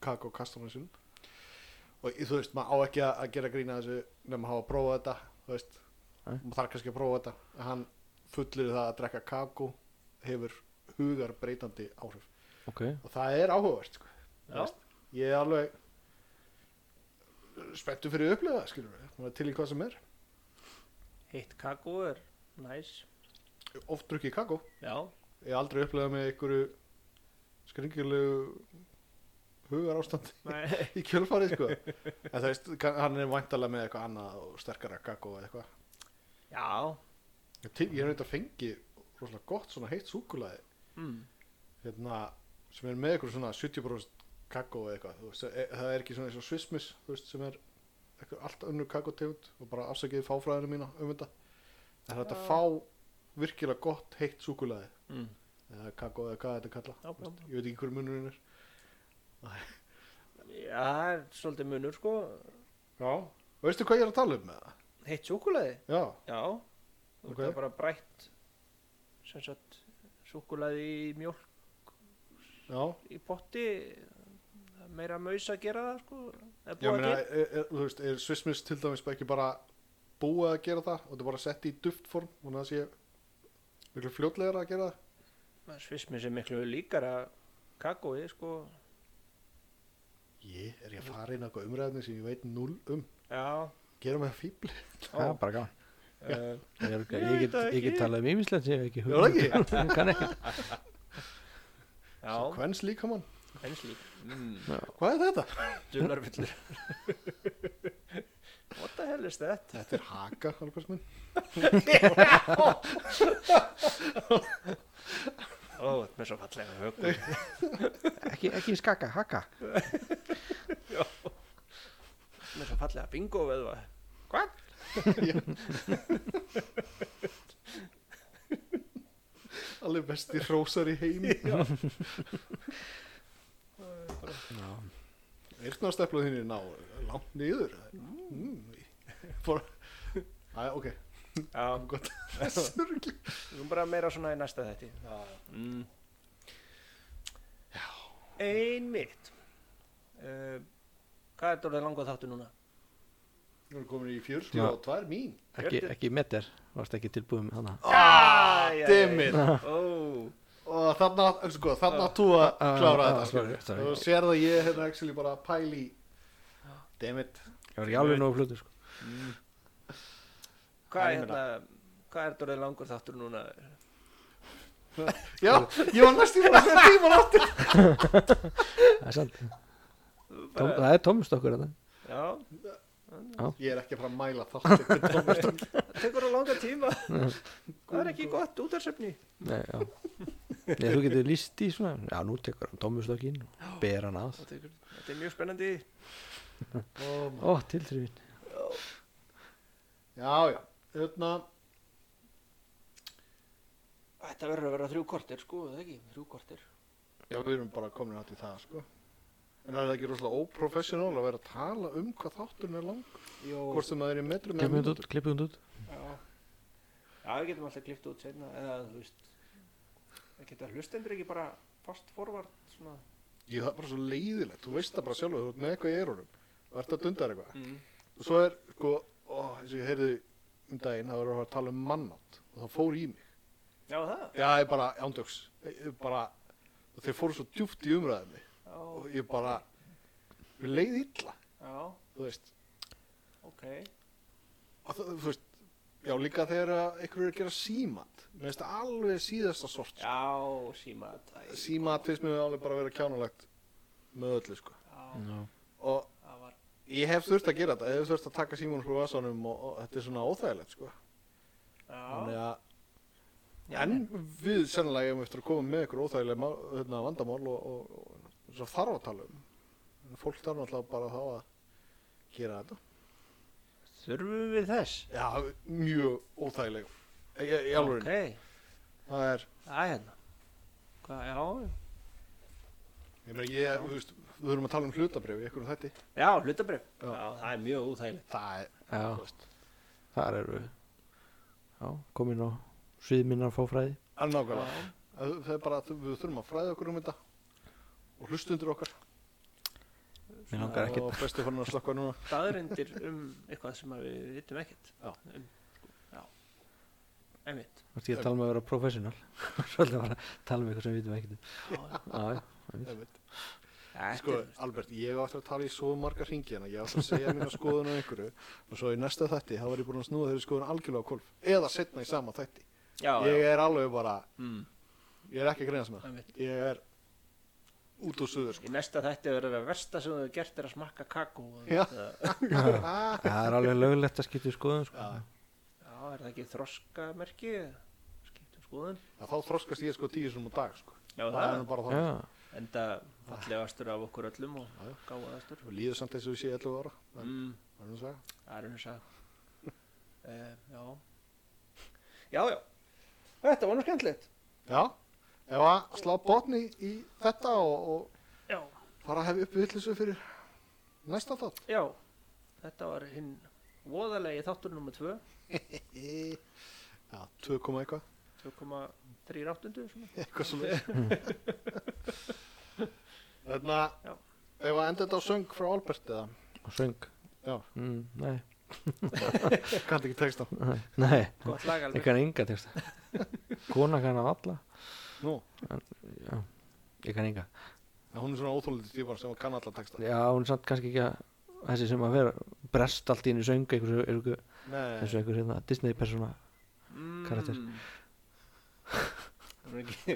Speaker 3: kakókastunum sinum og í- þú veist, maður á ekki að að gera grína þessu nefn að hafa að prófa þetta þú veist,
Speaker 1: Nei.
Speaker 3: maður þarf kannski að prófa þetta en hann fullir það að drekka kakó hefur hugar breytandi áhrif
Speaker 1: ok,
Speaker 3: og það er áhugavert sko. Þú
Speaker 2: Já.
Speaker 3: veist, ég er alveg spenntu fyrir að upplifa það, skilur við Maður er til í hvað sem er,
Speaker 2: Heitt kakó er næs.
Speaker 3: oft drukki kakó
Speaker 2: Já,
Speaker 3: ég hef aldrei upplegað með einhverju skringilegu hugar ástandi
Speaker 2: nei,
Speaker 3: í kjölfarið sko en það veist, kann- hann er væntalega með eitthvað annað og sterkara kakó eða eitthvað
Speaker 2: já,
Speaker 3: En til, ég hef reynda fengið rosalega gott svona heitt súkulaði
Speaker 2: mm.
Speaker 3: hérna, sem er með eitthvað svona 70% kakó eða eitthvað þú veist, e- það er ekki svona eins og svismis þú veist, sem er eitthvað allt önnur kakótegund og bara afsakið fáfræðinu mína um þetta það er hægt að fá virkilega gott heitt súkulaði
Speaker 2: Mm.
Speaker 3: eða kakó eða hvað þetta er kalla
Speaker 2: Já, já, já.
Speaker 3: ég veit ekki hver munurinn er
Speaker 2: já, það er svolítið munur sko.
Speaker 3: Já, og veistu hvað ég er að tala um með það?
Speaker 2: Heitt súkulaði,
Speaker 3: Já,
Speaker 2: já, þú
Speaker 3: Ok.
Speaker 2: okay. er bara brætt, sem sagt, súkulaði í mjólk
Speaker 3: já,
Speaker 2: í potti, það er meira maus að gera það sko. Það er
Speaker 3: ég
Speaker 2: búið
Speaker 3: meina,
Speaker 2: til.
Speaker 3: er, er, þú veist, er Swissmiss til dæmis bara ekki bara búið að gera það og þetta er bara sett í duftform og það sé miklu fljótlegra að gera það?
Speaker 2: Svismis er miklu líkara kakói sko.
Speaker 3: Ég, er ég að fara inn á eitthvað umræðni sem ég veit null um?
Speaker 2: Já,
Speaker 3: Gera mig að fíbli?
Speaker 1: það er bara gaman
Speaker 2: uh,
Speaker 1: ég,
Speaker 2: Ég
Speaker 1: er, ég,
Speaker 2: veit
Speaker 1: get,
Speaker 2: það
Speaker 1: ég get
Speaker 2: ekki.
Speaker 1: talað um ímislegt sem ég hef ekki
Speaker 3: Já,
Speaker 1: hugmynd
Speaker 3: ekki?
Speaker 1: um. kann ekki
Speaker 2: já,
Speaker 3: Hvens líka mann?
Speaker 2: hvens lík. Mm.
Speaker 3: Hvað er þetta?
Speaker 2: Dularvillur What the hell is that?
Speaker 3: Þetta er haka, alveg minn.
Speaker 2: Ó, þetta er svo fallega högum
Speaker 1: ekki, ekki skaka, haka
Speaker 2: Þetta er svo fallega bingo veðva Hvað?
Speaker 3: Alveg besti rósar í heimi. Eyrnasteflað þín er ná, langt niður. Mm. Bara, aðja, ok,
Speaker 2: Já,
Speaker 3: gott. Sörgli.
Speaker 2: við erum bara meira svona í næsta þetti mm. Einmitt uh, Hvað er þetta orðið langu þáttu núna?
Speaker 3: Nú erum komin í 42
Speaker 1: Já.
Speaker 3: og tvær mín
Speaker 1: ekki,
Speaker 2: Hjörtur.
Speaker 1: ekki meter, varst ekki tilbúið með hana
Speaker 2: Ah,
Speaker 3: damn it.
Speaker 2: Ó,
Speaker 3: og þarna, elsku góð, þarna átt þú að
Speaker 1: ah,
Speaker 3: klára
Speaker 1: ah,
Speaker 3: þetta
Speaker 1: ah,
Speaker 3: skilur.
Speaker 1: sorry, sorry.
Speaker 3: þú sér það ég hérna actually bara að pæli dammit
Speaker 1: ég var ekki alveg nógu fljótur sko.
Speaker 2: hvað er
Speaker 3: Ég meina-
Speaker 2: hérna Hvað er þetta orðið langur þáttur núna?
Speaker 3: já, ég var næst í bara að segja tíma aftur
Speaker 1: það er sant, Tom,
Speaker 2: Bara,
Speaker 1: það er tómstokkur þetta
Speaker 2: já,
Speaker 3: ég er ekki að fara að mæla þátt
Speaker 2: það tekur á langa tíma Það er ekki gott útarsöfni
Speaker 1: Nei, já. Nei, þú getur líst í svona Já, nú tekur hann tómustokkin Ber hann að
Speaker 2: Þetta er- þetta er mjög spennandi
Speaker 3: já,
Speaker 1: Ó, tilþrifin
Speaker 3: já, hérna
Speaker 2: Þetta verður að vera þrjú kortir sko, eða ekki? Þrjú kortir.
Speaker 3: já, við erum bara komin átt í það sko en það er ekki rosalega óprofessionál að vera að tala um hvað þátturinn er lang
Speaker 2: Jó.
Speaker 3: hvort sem það er í metrum eða
Speaker 1: Klippum þetta
Speaker 3: mínútum.
Speaker 1: út, klippum þetta út
Speaker 2: Já. Já, við getum alltaf klift út seinna, eða þú veist, það geta hlustendur ekki bara fast forvart svona.
Speaker 3: ég það er bara svo leiðilegt, þú veist það bara sjálf þú ert með eitthvað í erunum og ert að dunda þér eitthvað
Speaker 2: Mm.
Speaker 3: og svo er sko, ó, eins og ég heyrði um daginn það var að fara að tala um mannátt og það fór í mig
Speaker 2: Já, það.
Speaker 3: já, ég bara, ándjóks ég ég bara, og þeir fóru svo djúpt í umræðinni
Speaker 2: Já,
Speaker 3: og ég bara við leið illa,
Speaker 2: já,
Speaker 3: þú veist
Speaker 2: ok.
Speaker 3: og það, þú veist, já líka þegar að einhverju er að gera símat mér finnst það alveg síðasta sort sko.
Speaker 2: Já, síma þetta.
Speaker 3: símat finnst mér alveg bara að vera kjánulegt með öllu, sko
Speaker 2: Já,
Speaker 3: og
Speaker 2: það var,
Speaker 3: ég hef þurft að gera þetta, ég hef þurft að taka síman frá vasanum og, og þetta er svona óþægilegt, sko
Speaker 2: já.
Speaker 3: þannig að En við sennilega hefum eftir að koma með ykkur óþægilega mál, hérna, vandamál og, og, og, og svo þarf að tala um. En Fólk þarf náttúrulega bara þá að gera þetta.
Speaker 2: Þurfum við þess?
Speaker 3: Já, mjög óþægileg Í, í alveg,
Speaker 2: Ok,
Speaker 3: það er
Speaker 2: það er hérna. Hvað, já,
Speaker 3: Ég meina, ég, þú veist, við höfum að tala um hlutabrif í einhverjum þætti
Speaker 2: já, hlutabrif.
Speaker 3: Já.
Speaker 2: Já. það er mjög úþægilegt.
Speaker 3: Það er,
Speaker 1: Já,
Speaker 3: þú veist,
Speaker 1: þar eru Já, komin á sviðminnar fáfræði
Speaker 3: að nákvæmlega Það það er bara, að við þurfum að fræða okkur um þetta og hlustundur okkar
Speaker 1: Mér langar ekkert
Speaker 3: og bestu fann að slakka núna
Speaker 2: Staðurindir um eitthvað sem að við vitum ekkert.
Speaker 3: Já.
Speaker 2: Um, já. Einmitt.
Speaker 1: Þú veist ég að tala um að vera professional Svolítið bara að tala um eitthvað sem við vitum ekkert um.
Speaker 2: Já, já.
Speaker 1: Já, já,
Speaker 3: Ég veit.
Speaker 2: Þetta er-
Speaker 3: Sko, Albert, ég á eftir að tala í svo marga hringi hérna, ég á eftir að segja mína skoðun á einhverju og svo í næsta þætti, þá var ég búin að snúa þeirri skoðun algjörlega á kolf, eða setna í sama þætti
Speaker 2: já, já.
Speaker 3: Ég er alveg bara,
Speaker 2: Mm,
Speaker 3: ég er ekki að greina sem það
Speaker 2: einmitt.
Speaker 3: Ég er út úr suður, sko.
Speaker 2: Í næsta þætti verður það versta sem þú hefur gert er að smakka kakó. og
Speaker 3: Já.
Speaker 2: þetta-
Speaker 3: sko
Speaker 1: það er alveg löglegt að skipta í skoðum sko.
Speaker 3: Já.
Speaker 2: Já, er það ekki þroskamerki? Skiptum skoðun.
Speaker 3: Já, þá þroskast ég sko tíu sem á dag sko.
Speaker 2: Já,
Speaker 3: það er
Speaker 2: það
Speaker 3: nú bara
Speaker 1: Já,
Speaker 3: þannig
Speaker 2: enda fallegastur af okkur öllum og
Speaker 3: Já, já.
Speaker 2: gáðastur.
Speaker 3: og líður samt eins og við séu 11 ára en
Speaker 2: Mm.
Speaker 3: það er nú að segja.
Speaker 2: Það er henni sag uh, Já Já, já Þetta var nú skemmtilegt
Speaker 3: já, ef að slá botni í þetta og,
Speaker 2: Já,
Speaker 3: og fara að hefja upp vitleysu fyrir næsta þátt
Speaker 2: já Þetta var hinn voðalegi þáttur nummer 2 Eh,
Speaker 3: já, 2, koma eitthvað
Speaker 2: 2,3 áttundu svona.
Speaker 3: eitthvað svo leið þarna
Speaker 2: Já.
Speaker 3: ef Hérna, að enda þetta á söng frá Albert eða
Speaker 1: og söng
Speaker 3: Já.
Speaker 1: mm, Nei,
Speaker 3: kannti ekki texta
Speaker 1: nei,
Speaker 2: Gott lag
Speaker 1: ég
Speaker 2: alveg
Speaker 1: kann enga texta Kona kann að alla
Speaker 3: nú,
Speaker 1: Já, ég kann enga
Speaker 3: en hún er svona óþólandi tífan sem kann alla texta
Speaker 1: Já, hún er samt kannski ekki að þessi sem að vera brest allt í henni söng einhversu, einhversu,
Speaker 3: nei,
Speaker 1: einhversu, einhversu Disney-persóna
Speaker 2: mm.
Speaker 1: karakter.
Speaker 2: Það var ekki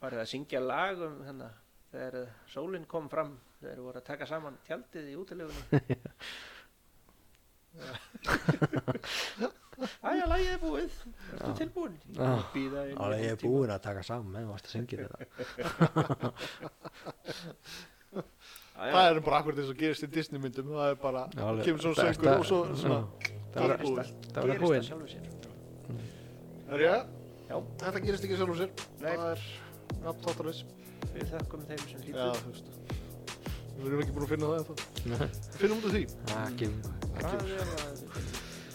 Speaker 2: Farið að syngja lag um hérna Þegar eh, sólin kom fram Þegar voru að taka saman tjaldið í útilegunni Æja, lagið er búið Ertu tilbúin?
Speaker 1: Já.
Speaker 2: Býða í
Speaker 1: Alveg ég
Speaker 2: nýjan
Speaker 1: er
Speaker 2: tíma.
Speaker 1: búin að taka saman þú varst að syngja þetta
Speaker 2: Já, já.
Speaker 3: það er bara akkur þess að gerist í Disney myndum það er bara,
Speaker 1: Alveg
Speaker 3: kemur svona
Speaker 1: besta-
Speaker 3: söngur og svo svona
Speaker 1: Já,
Speaker 3: Það var
Speaker 2: Gerist
Speaker 3: búið.
Speaker 2: allt-
Speaker 1: Það var
Speaker 2: gerist
Speaker 1: búið.
Speaker 2: allt sjálfu sér.
Speaker 3: Herja,
Speaker 2: Já.
Speaker 3: þetta gerist ekki sjálf og sér.
Speaker 2: Nei.
Speaker 3: Það er nafn þáttarins.
Speaker 2: Við þökkum þeim sem
Speaker 3: Já,
Speaker 2: hlýtur
Speaker 3: þú veist. Við erum ekki búin að finna það eða þá. Finnum út af því.
Speaker 1: það gefur nú.
Speaker 2: Hvað er að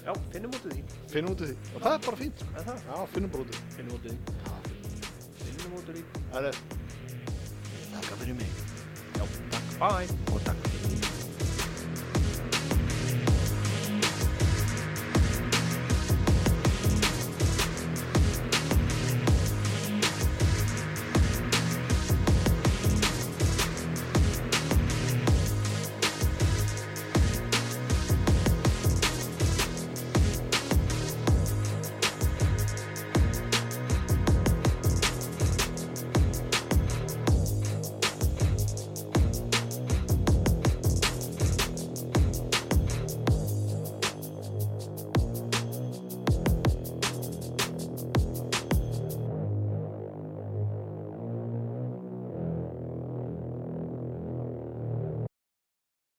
Speaker 2: Já, finnum út úr því
Speaker 3: Finnum út af því. Og það er bara fínt. sko.
Speaker 2: Er það?
Speaker 3: Já, finnum bara út af því.
Speaker 2: Finnum út úr því Finnum út úr því
Speaker 3: Það er Takk fyrir mig.
Speaker 2: Bye Og takk